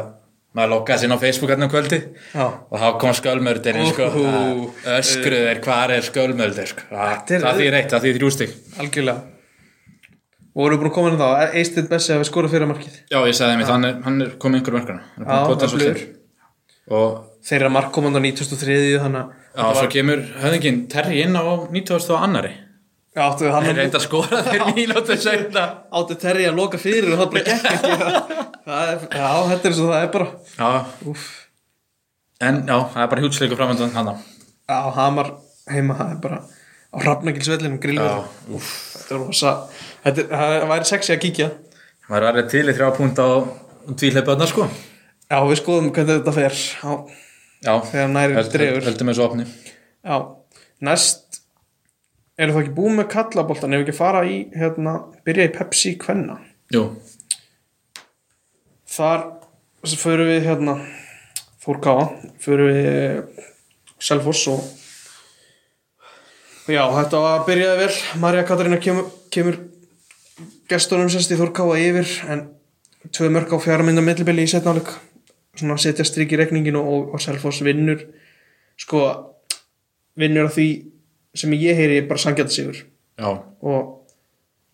Speaker 1: maður loggaði sér inn á Facebook hérna um kvöldi
Speaker 2: Já,
Speaker 1: og þá kom skölmördirinn, sko.
Speaker 2: Úhú.
Speaker 1: Það Öskruður, hvað er skölmördir, sko.
Speaker 2: Þetta er-
Speaker 1: Það því reitt, það því þrjústig.
Speaker 2: algjörlega og vorum búin að koma inn á það Eistid Bessi hafi skorað fyrir markið
Speaker 1: Já, ég sagði mér, hann er, hann er komið yngur mörkana. Hann er búinn
Speaker 2: Já,
Speaker 1: að pota svo
Speaker 2: öflugur.
Speaker 1: til. Og
Speaker 2: þeirra mark komand á 93 þannig
Speaker 1: já, svo kemur höfðingin Terri inn á 90. og annari.
Speaker 2: að áttu hann
Speaker 1: Hann er reynd að skora þér mínútu segna.
Speaker 2: áttu Terri að loka fyrir og það bara gekk ekki það er, já, þetta er svo það er bara
Speaker 1: Já,
Speaker 2: úf,
Speaker 1: en já, það er bara hjútsleiku framöndan hann á.
Speaker 2: já, Hamar heima það er bara á Hrafnagilsvellinum grillverð
Speaker 1: úf.
Speaker 2: þetta er rosa þetta er, það væri sexy að kíkja
Speaker 1: Maður er alveg til í þrjá punkt á tvíhleipu þarna, sko.
Speaker 2: já, við skoðum hvernig þetta fer já,
Speaker 1: Já,
Speaker 2: Þegar nær
Speaker 1: held-
Speaker 2: dregur.
Speaker 1: held- Höldum þessu opni.
Speaker 2: já. næst eru það ekki búið með kallaboltan ef við ekki fara í, hérna, byrja í Pepsi Kvenna
Speaker 1: Jú,
Speaker 2: þar fyrir við hérna Þór Káa fyrir við Selfoss og já þetta var byrjaði vel Marja Katarina kemur, kemur gestunum sérst í Þór Káa yfir en tvö mörg á fjáramynda millibili í setnáleik svona setja strik í rekningin og, og, og Selfoss vinnur sko vinnur að því sem ég heyri bara sangjata sigur
Speaker 1: já.
Speaker 2: og, og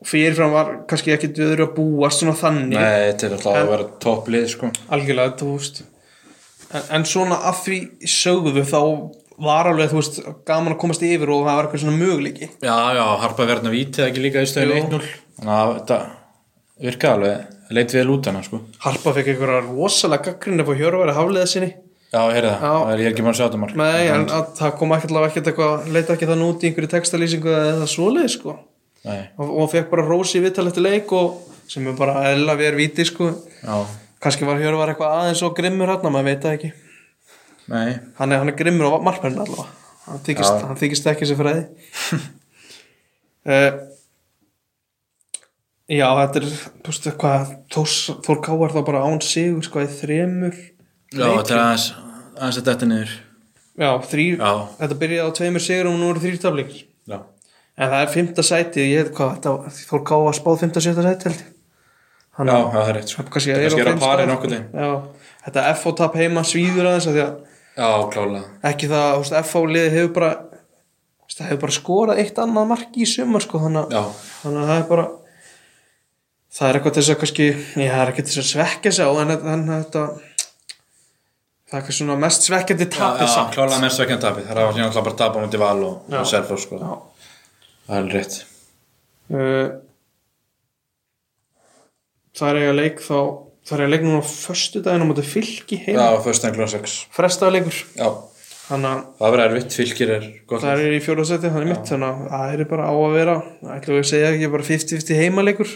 Speaker 2: fyrirfram var kannski ekki döður að búast svona þannig
Speaker 1: Nei, þetta er alltaf að vera topplið, sko.
Speaker 2: algjörlega, þú veist en, en svona að því sögðu þá var alveg, þú veist, gaman að komast yfir og það var eitthvað svona möguleiki
Speaker 1: Já, já, harpa verðna vítið ekki líka í stöðinu
Speaker 2: Jú.
Speaker 1: 1-0. Þannig að þetta virkaði alveg, leit vel út hana, sko.
Speaker 2: Harpa fekk einhverja rosalega gaggrinni á Hjörværi hafliða sinni
Speaker 1: Já, ég heyrði það,
Speaker 2: Já.
Speaker 1: það er ég er ekki maður að sjá þetta marg.
Speaker 2: Nei, en að, það kom ekkert alveg ekkert eitthvað leita ekki þann út í einhverju textalýsingu eða eða svoleið, sko
Speaker 1: Nei,
Speaker 2: og, og fekk bara rósi viðtalegt leik og sem er bara eðla við er viti, sko
Speaker 1: já,
Speaker 2: kannski var Hjörværi eitthvað aðeins og grimmur hann, maður veit það ekki
Speaker 1: nei,
Speaker 2: hann er, hann er grimmur á markmenn allavega hann þykist,
Speaker 1: Já.
Speaker 2: hann þykist ekki sér fræði uh, já þetta er þú veist hvað Þórs, Þór Káar þá bara án sigur sko í þremur
Speaker 1: já, þetta er aðeins, aðeins að þetta niður.
Speaker 2: já, þrý,
Speaker 1: Já.
Speaker 2: þetta byrjaði á tveimur sigurum og nú eru þrýr tafleikir
Speaker 1: Já,
Speaker 2: en það er fymta sæti og ég hef hvað, þetta fór ká að spáð fymta sjötta sæti held ég
Speaker 1: Já,
Speaker 2: þannig að
Speaker 1: það er rétt sko.
Speaker 2: það kannski
Speaker 1: Þetta
Speaker 2: er á
Speaker 1: kannski er að
Speaker 2: þeim
Speaker 1: pari
Speaker 2: stað,
Speaker 1: nokkuð
Speaker 2: sko. Já, þetta FO tap heima svíður aðeins af því að
Speaker 1: Já, klálega
Speaker 2: ekki það, þú veist, FO liði hefur bara þú veist, það hefur bara skorað eitt annað mark í sumar sko, þannig,
Speaker 1: Já,
Speaker 2: að- þannig að það er bara það er eitthvað til þess að kannski já, það er ekki til þess að svekja sig á en, en þetta það er kannski svona mest svekkjandi
Speaker 1: já
Speaker 2: tapið samt
Speaker 1: klálega mest vekjan tapið Það var síðan alltaf bara að tapa mútið val og,
Speaker 2: Já.
Speaker 1: og selfur sko.
Speaker 2: Já.
Speaker 1: Það er alveg rétt
Speaker 2: Uh, Það er eiga leik þá Það er eiga leik núna á föstu daginn á móti fylki heim
Speaker 1: Já, fyrst en glóðan 6
Speaker 2: Frestaða leikur
Speaker 1: Já,
Speaker 2: Þannig að
Speaker 1: það verður erfitt, fylgir er gott
Speaker 2: það er í fjóðarsæti Þannig mitt þannig að það er bara á að vera Ætlum við að segja ekki bara 50-50 heimaleikur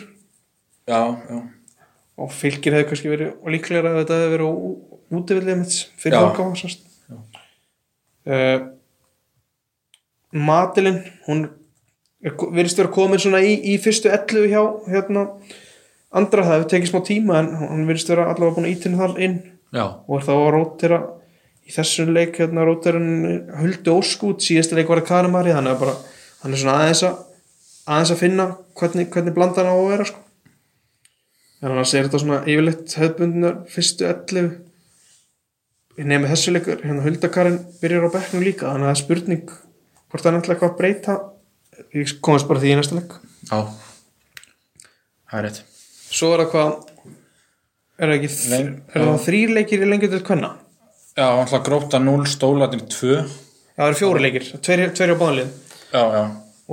Speaker 1: Já, já
Speaker 2: Og fylgir hefði kannski verið og líklegra ef þetta hefði verið útivillið mitt Fyrir
Speaker 1: Já.
Speaker 2: hálfgáma sást uh, Matilin Hún er, virðist vera komin svona í, í fyrstu 11 hjá hérna Andra það hefur tekið smá tíma en hann virðist vera allavega búin að ítinn þar inn
Speaker 1: Já,
Speaker 2: og er þá að rótira í þessum leik hérna rótirinn huldu óskút síðasta leik var það Karimari þannig að bara hann er svona aðeins að aðeins að finna hvernig, hvernig blandan á að vera sko. en hann segir þetta svona yfirleitt höfbundunar fyrstu 11 ég nefnir þessu leikur hérna huldakarinn byrjar á bekknum líka þannig að það er spurning hvort hann ætla eitthvað að breyta ég komast bara að því í næsta leik
Speaker 1: já Það er rétt
Speaker 2: svo er það hvað er það ekki
Speaker 1: Nei,
Speaker 2: er það þrýr leikir í lengjum til kvenna
Speaker 1: Já, alltaf gróta 0, stólarnir 2
Speaker 2: Já, það eru fjóri leikir, tveir, tveir á báðanlið
Speaker 1: Já, já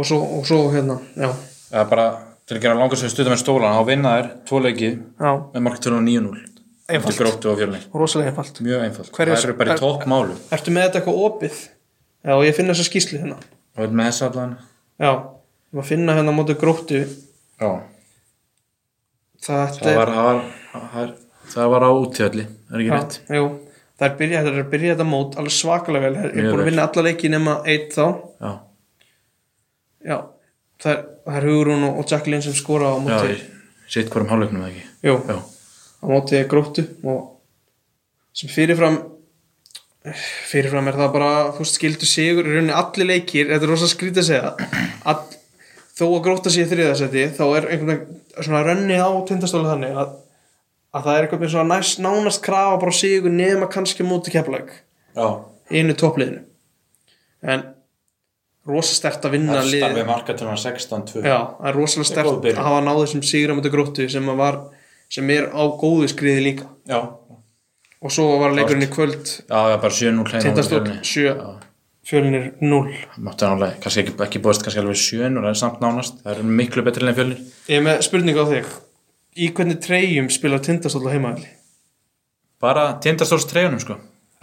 Speaker 2: og svo, og svo hérna, já,
Speaker 1: Það er bara til að gera langar sem stuða með stólan þá vinna þær tvo leiki
Speaker 2: já,
Speaker 1: með marktölu 9-0 Eftir
Speaker 2: einfalt,
Speaker 1: gróttu og fjörleik
Speaker 2: rosalega einfalt.
Speaker 1: Mjög einfalt
Speaker 2: Hverju-
Speaker 1: Það eru bara í toppmálu
Speaker 2: Ertu með þetta eitthvað opið? Já, ég finna þessa skýslu hérna,
Speaker 1: Það er með þess allan
Speaker 2: já, ég að finna hérna á móti gróttu,
Speaker 1: Já,
Speaker 2: það,
Speaker 1: það var, það var, það var, það var á útjöldi Er ekki rétt?
Speaker 2: já, jú, það er byrjað, það er byrjað þetta mót alveg svakalega vel, það er
Speaker 1: Mjög
Speaker 2: búin að
Speaker 1: vel.
Speaker 2: vinna alla leiki nema eitt þá,
Speaker 1: Já,
Speaker 2: já, það er, það er Hugrún og og Jacqueline sem skora á
Speaker 1: já
Speaker 2: móti,
Speaker 1: ég sitt hverjum hálfleiknum eða ekki
Speaker 2: jú,
Speaker 1: Já,
Speaker 2: á móti gróttu og sem fyrirfram fyrirfram er það bara þú veist, skildu sigur, í rauninni allir leikir þetta er rosa skrítið að segja all, þó að gróta sig í þriðasetti þá er einhvern veginn svona rönnið á tindastólu þannig að, að það er einhvern veginn svona næst, nánast krafa bara á sigur nema kannski móti keflag
Speaker 1: já
Speaker 2: einu toppliðinu en rosa stert að vinna
Speaker 1: Það
Speaker 2: lið-
Speaker 1: starfið markatölu 16-2
Speaker 2: Já, það
Speaker 1: er
Speaker 2: er rosalega
Speaker 1: góð
Speaker 2: stert
Speaker 1: byrjun.
Speaker 2: að hafa náð þessum sigur á móti gróttu sem, að var, sem er á góðu skriði líka
Speaker 1: já
Speaker 2: og svo var leikurinn í kvöld
Speaker 1: Já, það er bara 7-0 hrein á
Speaker 2: Tindastóll
Speaker 1: Fjölni.
Speaker 2: 7 Fjölnir 0
Speaker 1: Máttu nálega, kannski ekki, ekki búist kannski alveg 7-0 en samt nánast, það eru miklu betri enn fjölnir
Speaker 2: Ég er með spurningu á þig Í hvernig treyjum spilar Tindastóll á heimaðli?
Speaker 1: Bara tindastóls treyjunum sko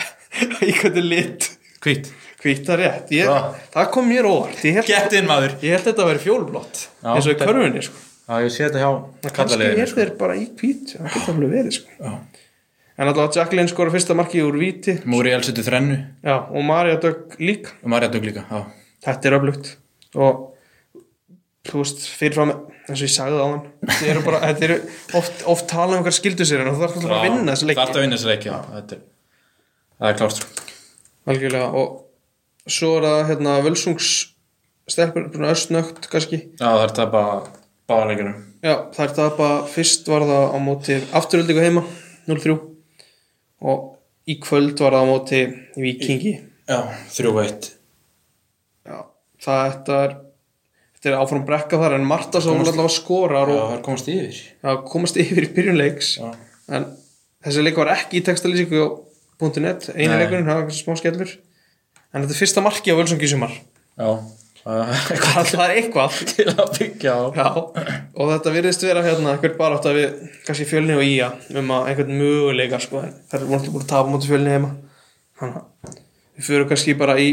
Speaker 2: [laughs] Í hvernig lit?
Speaker 1: Hvít
Speaker 2: Hvíta rétt ég,
Speaker 1: Já.
Speaker 2: Það kom mér óvart Ég held,
Speaker 1: Gett inn maður
Speaker 2: ég held þetta að vera fjólblott
Speaker 1: Já.
Speaker 2: eins og í körfunni sko.
Speaker 1: Já, ég sé þetta hjá
Speaker 2: Kannski
Speaker 1: kallaliðinu
Speaker 2: er þeir bara í hvít Það geta alveg verið sko.
Speaker 1: sko. Já.
Speaker 2: En allavega Jacqueline skora fyrsta markið úr víti
Speaker 1: Múri elsetu þrennu
Speaker 2: Já, og Marja Dögg líka
Speaker 1: og Marja Dögg líka já.
Speaker 2: þetta er öflugt og þú veist, fyrirfram eins og ég sagði á hann þetta eru bara, [laughs] þetta eru oft, oft tala um okkar skildu sér en þú þarf alltaf bara að vinna þessu leik
Speaker 1: Það er að vinna þessi leik, já þetta er, Það er klárt sko.
Speaker 2: algjörlega og svo er það hérna völsungs stelpur, svona östnögt kannski
Speaker 1: Já, það er tapa báleikunum
Speaker 2: já, það er það bara, fyrst var það á móti afturöldingu heima, 0-3 og í kvöld var það á móti vikingi
Speaker 1: Já, 3-1
Speaker 2: já, það þetta er þetta er áfram brekka þar en Marta svo hún allavega skorar
Speaker 1: Já,
Speaker 2: og
Speaker 1: það er komast yfir
Speaker 2: að komast yfir í byrjunleiks
Speaker 1: Já.
Speaker 2: en þessi leik var ekki í textalýsingu á .net, einu
Speaker 1: Nei.
Speaker 2: leikurinn það var kannski smá skellur en þetta er fyrsta marki á Völsungi í sumar
Speaker 1: [laughs] Já, það er eitthvað
Speaker 2: það er eitthvað
Speaker 1: til að byggja á
Speaker 2: Já, og þetta virðist vera hérna einhver bara átt að við kannski fjölni og íja um að einhvern möguleika sko en það er vonandi búin að tapa mútið fjölni heima þannig að við fyrir kannski bara í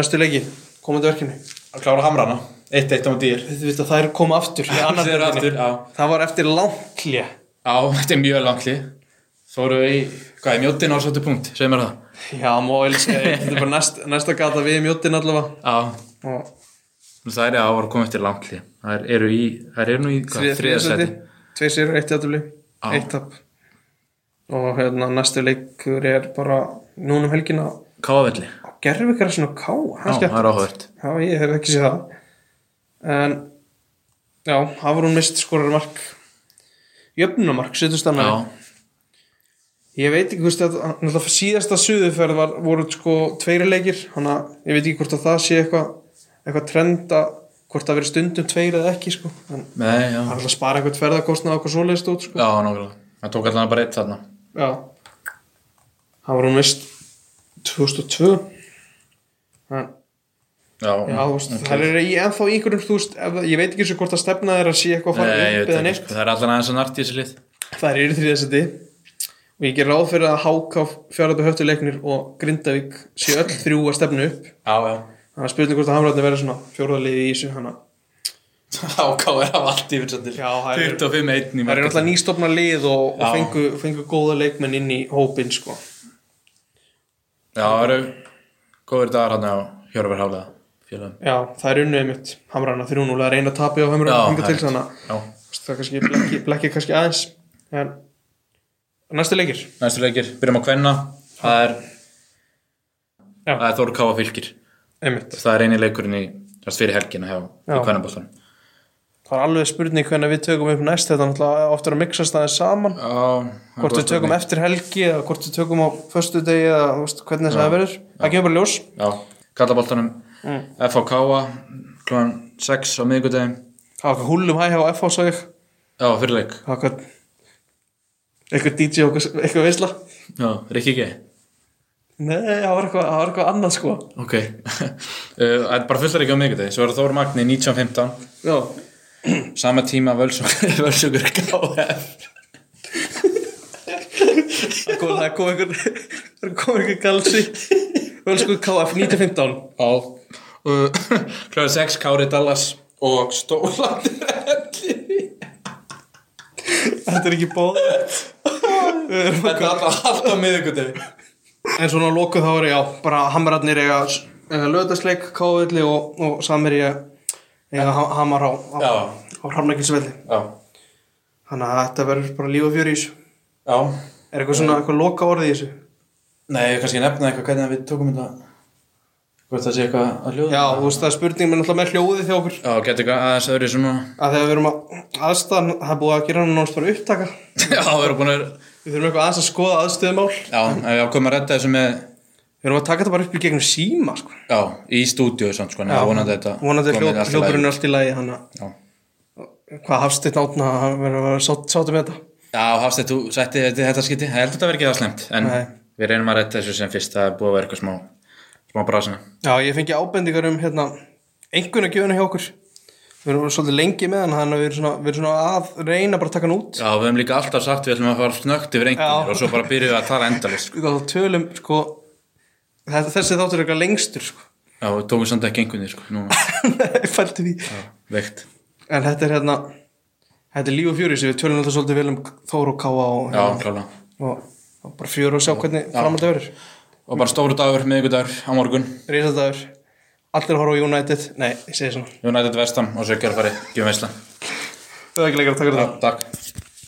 Speaker 2: næstu leiki komandi verkefni
Speaker 1: Að klára hamrana 1-1 á dýr
Speaker 2: Þið veit að það er koma aftur,
Speaker 1: [laughs]
Speaker 2: í annarri
Speaker 1: Þeir eru aftur,
Speaker 2: deildinni.
Speaker 1: já
Speaker 2: það var eftir langt hlje
Speaker 1: Já, þetta er mjög langli Fóru í, hvað er mjóttin á sáttu punkt, segir mér það
Speaker 2: Já, móil, þetta er bara næst, næsta gata við mjóttin allavega
Speaker 1: Já,
Speaker 2: og
Speaker 1: það er að ára að koma eftir langli Það eru í, það eru nú í hvað, þriðja sæti.
Speaker 2: Tveir sér, eitt játtöfli,
Speaker 1: Já.
Speaker 2: eitt tap og hérna næstu leikur er bara núna um helgina
Speaker 1: Kávelli
Speaker 2: á gerfikar svona ká,
Speaker 1: Já,
Speaker 2: það
Speaker 1: það
Speaker 2: er
Speaker 1: er áhört
Speaker 2: Já, ég hef ekki séð það en já, Hafrún mist skorar mark jöfnumark, setjumst
Speaker 1: Já,
Speaker 2: annað ég veit ekki hvort að náttúrulega síðasta suðuferð var, voru sko tveiri leikir þannig að ég veit ekki hvort að það sé eitthvað eitthvað trend að hvort það verið stundum tveir eða ekki sko en
Speaker 1: nei, já,
Speaker 2: það er alltaf að spara eitthvað tverðakostnað okkur svoleiðist út sko
Speaker 1: já, nákvæmlega Það tók allan bara eitt þarna
Speaker 2: já það var hún mist 2002 en
Speaker 1: Já,
Speaker 2: já, þú veist, það er í, ennþá í einhverjum þú veist, ef, ég veit ekki svo hvort að stefna þeir að sé eitthvað að
Speaker 1: Nei, ég
Speaker 2: fara upp
Speaker 1: veit
Speaker 2: eða
Speaker 1: ekki,
Speaker 2: neitt
Speaker 1: sko, það er allan aðeins að nart í þessi lið
Speaker 2: Það eru þrið þessi og ég ger ráð fyrir að HK fjárhættu höftuleiknir og Grindavík sé öll þrjú að stefnu upp
Speaker 1: Já, [laughs] já
Speaker 2: þannig að spurning hvort að Hamrarni verður svona fjórðarliði í þessu hana.
Speaker 1: HK er af allt yfir sættil
Speaker 2: Já, það eru-
Speaker 1: 25 1 í
Speaker 2: það eru alltaf
Speaker 1: markasæti.
Speaker 2: nýstofna lið og, og
Speaker 1: Já.
Speaker 2: fengu, fengu góða leikmenn inn í hópin sko.
Speaker 1: Já, það eru góðir dagar hann á Hjörfur Hálega félagum
Speaker 2: já, það er unnið mitt Hamrarna 3-0 að reyna að tapja á Hamrarna hingað til þannig að
Speaker 1: Já,
Speaker 2: þú veist, það kannski blekki, blekki kannski aðeins en næstu leikir
Speaker 1: næstu leikir, byrjum á kvenna Það er
Speaker 2: Já.
Speaker 1: Það er Þór Káa fylgir
Speaker 2: einmitt.
Speaker 1: Það er eini leikurinn í sem sagt, fyrir helgina hjá
Speaker 2: Já.
Speaker 1: kvennabóttanum
Speaker 2: það er alveg spurning hvernig við tökum upp næst þetta er náttúrulega ofta að mixast aðeins saman
Speaker 1: Já, það er
Speaker 2: hvort
Speaker 1: góð
Speaker 2: við tökum
Speaker 1: spurning.
Speaker 2: eftir helgi eða hvort við tökum á förstu degi eða þú veist, hvernig það verður það kemur bara í ljós
Speaker 1: Já, kallaboltanum
Speaker 2: Mm.
Speaker 1: FHK klukkan 6 á miðvikudaginn
Speaker 2: það var eitthvað húllum hæ á FH svo ég
Speaker 1: Já, fyrirleik
Speaker 2: það var eitthvað eitthvað DJ og eitthvað- eitthvað veisla
Speaker 1: Já, Rikki G
Speaker 2: nei, það var eitthvað, það var eitthvað annað sko
Speaker 1: Ok [laughs] Uh, Það er bara fullar ekki á miðvikudaginn Svo er Þór Magni 19.15
Speaker 2: já,
Speaker 1: Sama tíma Völsungur [laughs] Völsungur KF
Speaker 2: það kom, það kom einhver [laughs] það kom einhver galsi Völsku KF 1915
Speaker 1: Já uh, [laughs] Klukkan 6 Kári Dallas og Stólandir Ellir
Speaker 2: þetta er ekki bóð
Speaker 1: Þetta er alltaf allt á miðvikudaginn
Speaker 2: en svona á lóku þá er já, bara hamrarnir eiga löðasleik, káðvilli og, og samir ég eiga ha- hamar á, á,
Speaker 1: Já.
Speaker 2: á hramnækilsvelli
Speaker 1: Já
Speaker 2: þannig að þetta verður bara líf og fjör í þessu
Speaker 1: Já
Speaker 2: er eitthvað svona eitthvað loka orðið í þessu
Speaker 1: Nei, kannski nefna eitthvað hvernig við tókum þetta Hvort það sé eitthvað að hljóða
Speaker 2: já, þú veist það er spurning með náttúrulega með hljóðið hjá okkur
Speaker 1: Já, getur eitthvað aðeins öðru svona
Speaker 2: að þegar við erum að aðstæðan það er búið að gera hann náttúrulega bara upptaka
Speaker 1: Já, við erum búin að
Speaker 2: við þurfum eitthvað aðeins að skoða aðstöðumál við
Speaker 1: Já, ef við ákveðum að redda þessu með
Speaker 2: erum að taka þetta bara upp í gegnum síma sko.
Speaker 1: Já, í stúdíu samt sko, neða vonandi þetta
Speaker 2: vonandi
Speaker 1: komið allt í lagi.
Speaker 2: hljókurinn er allt í lagi hann að
Speaker 1: Já,
Speaker 2: hvað hafst þitt átna að vera að vera sátt- sáttur með þetta
Speaker 1: já Hafsteinn, þú setti þetta, þetta skiti Það heldur þetta verið ekki það slemt En
Speaker 2: Nei.
Speaker 1: við reynum að redda þessu sem fyrst Það er búið að vera eitthvað smá, smá brásina
Speaker 2: Já, ég fengi ábendingar um hérna einhverjum gjöfuna hjá okkur við erum svolítið lengi með hann þannig að við erum, svona, við erum svona að reyna bara að taka hann út
Speaker 1: Já, við hefum líka alltaf sagt Við ætlum að fara snögt yfir
Speaker 2: Já.
Speaker 1: einhvern Og svo bara byrjuðu að tala endalist sko.
Speaker 2: Við þá tölum sko þetta- þessi þáttur er eitthvað lengstur sko [laughs]
Speaker 1: Já, við tókum samt ekki einhvern sko, núna
Speaker 2: Nei, fælti því
Speaker 1: Veikt
Speaker 2: en þetta er hérna þetta er líf og fjöri sem við tölum alltaf svolítið vel um Þór og Káa og,
Speaker 1: Já,
Speaker 2: hérna,
Speaker 1: klála
Speaker 2: og, og bara fjöru og sjá hvernig framönda verður
Speaker 1: Og bara stóru dagur, miðvikudagur, á morgun
Speaker 2: Rísadagur, allir horfa á United Nei, ég segi svona,
Speaker 1: United Vestam og svo ekki að fara Gjum veisla
Speaker 2: það er ekki leikar að taka þetta
Speaker 1: Takk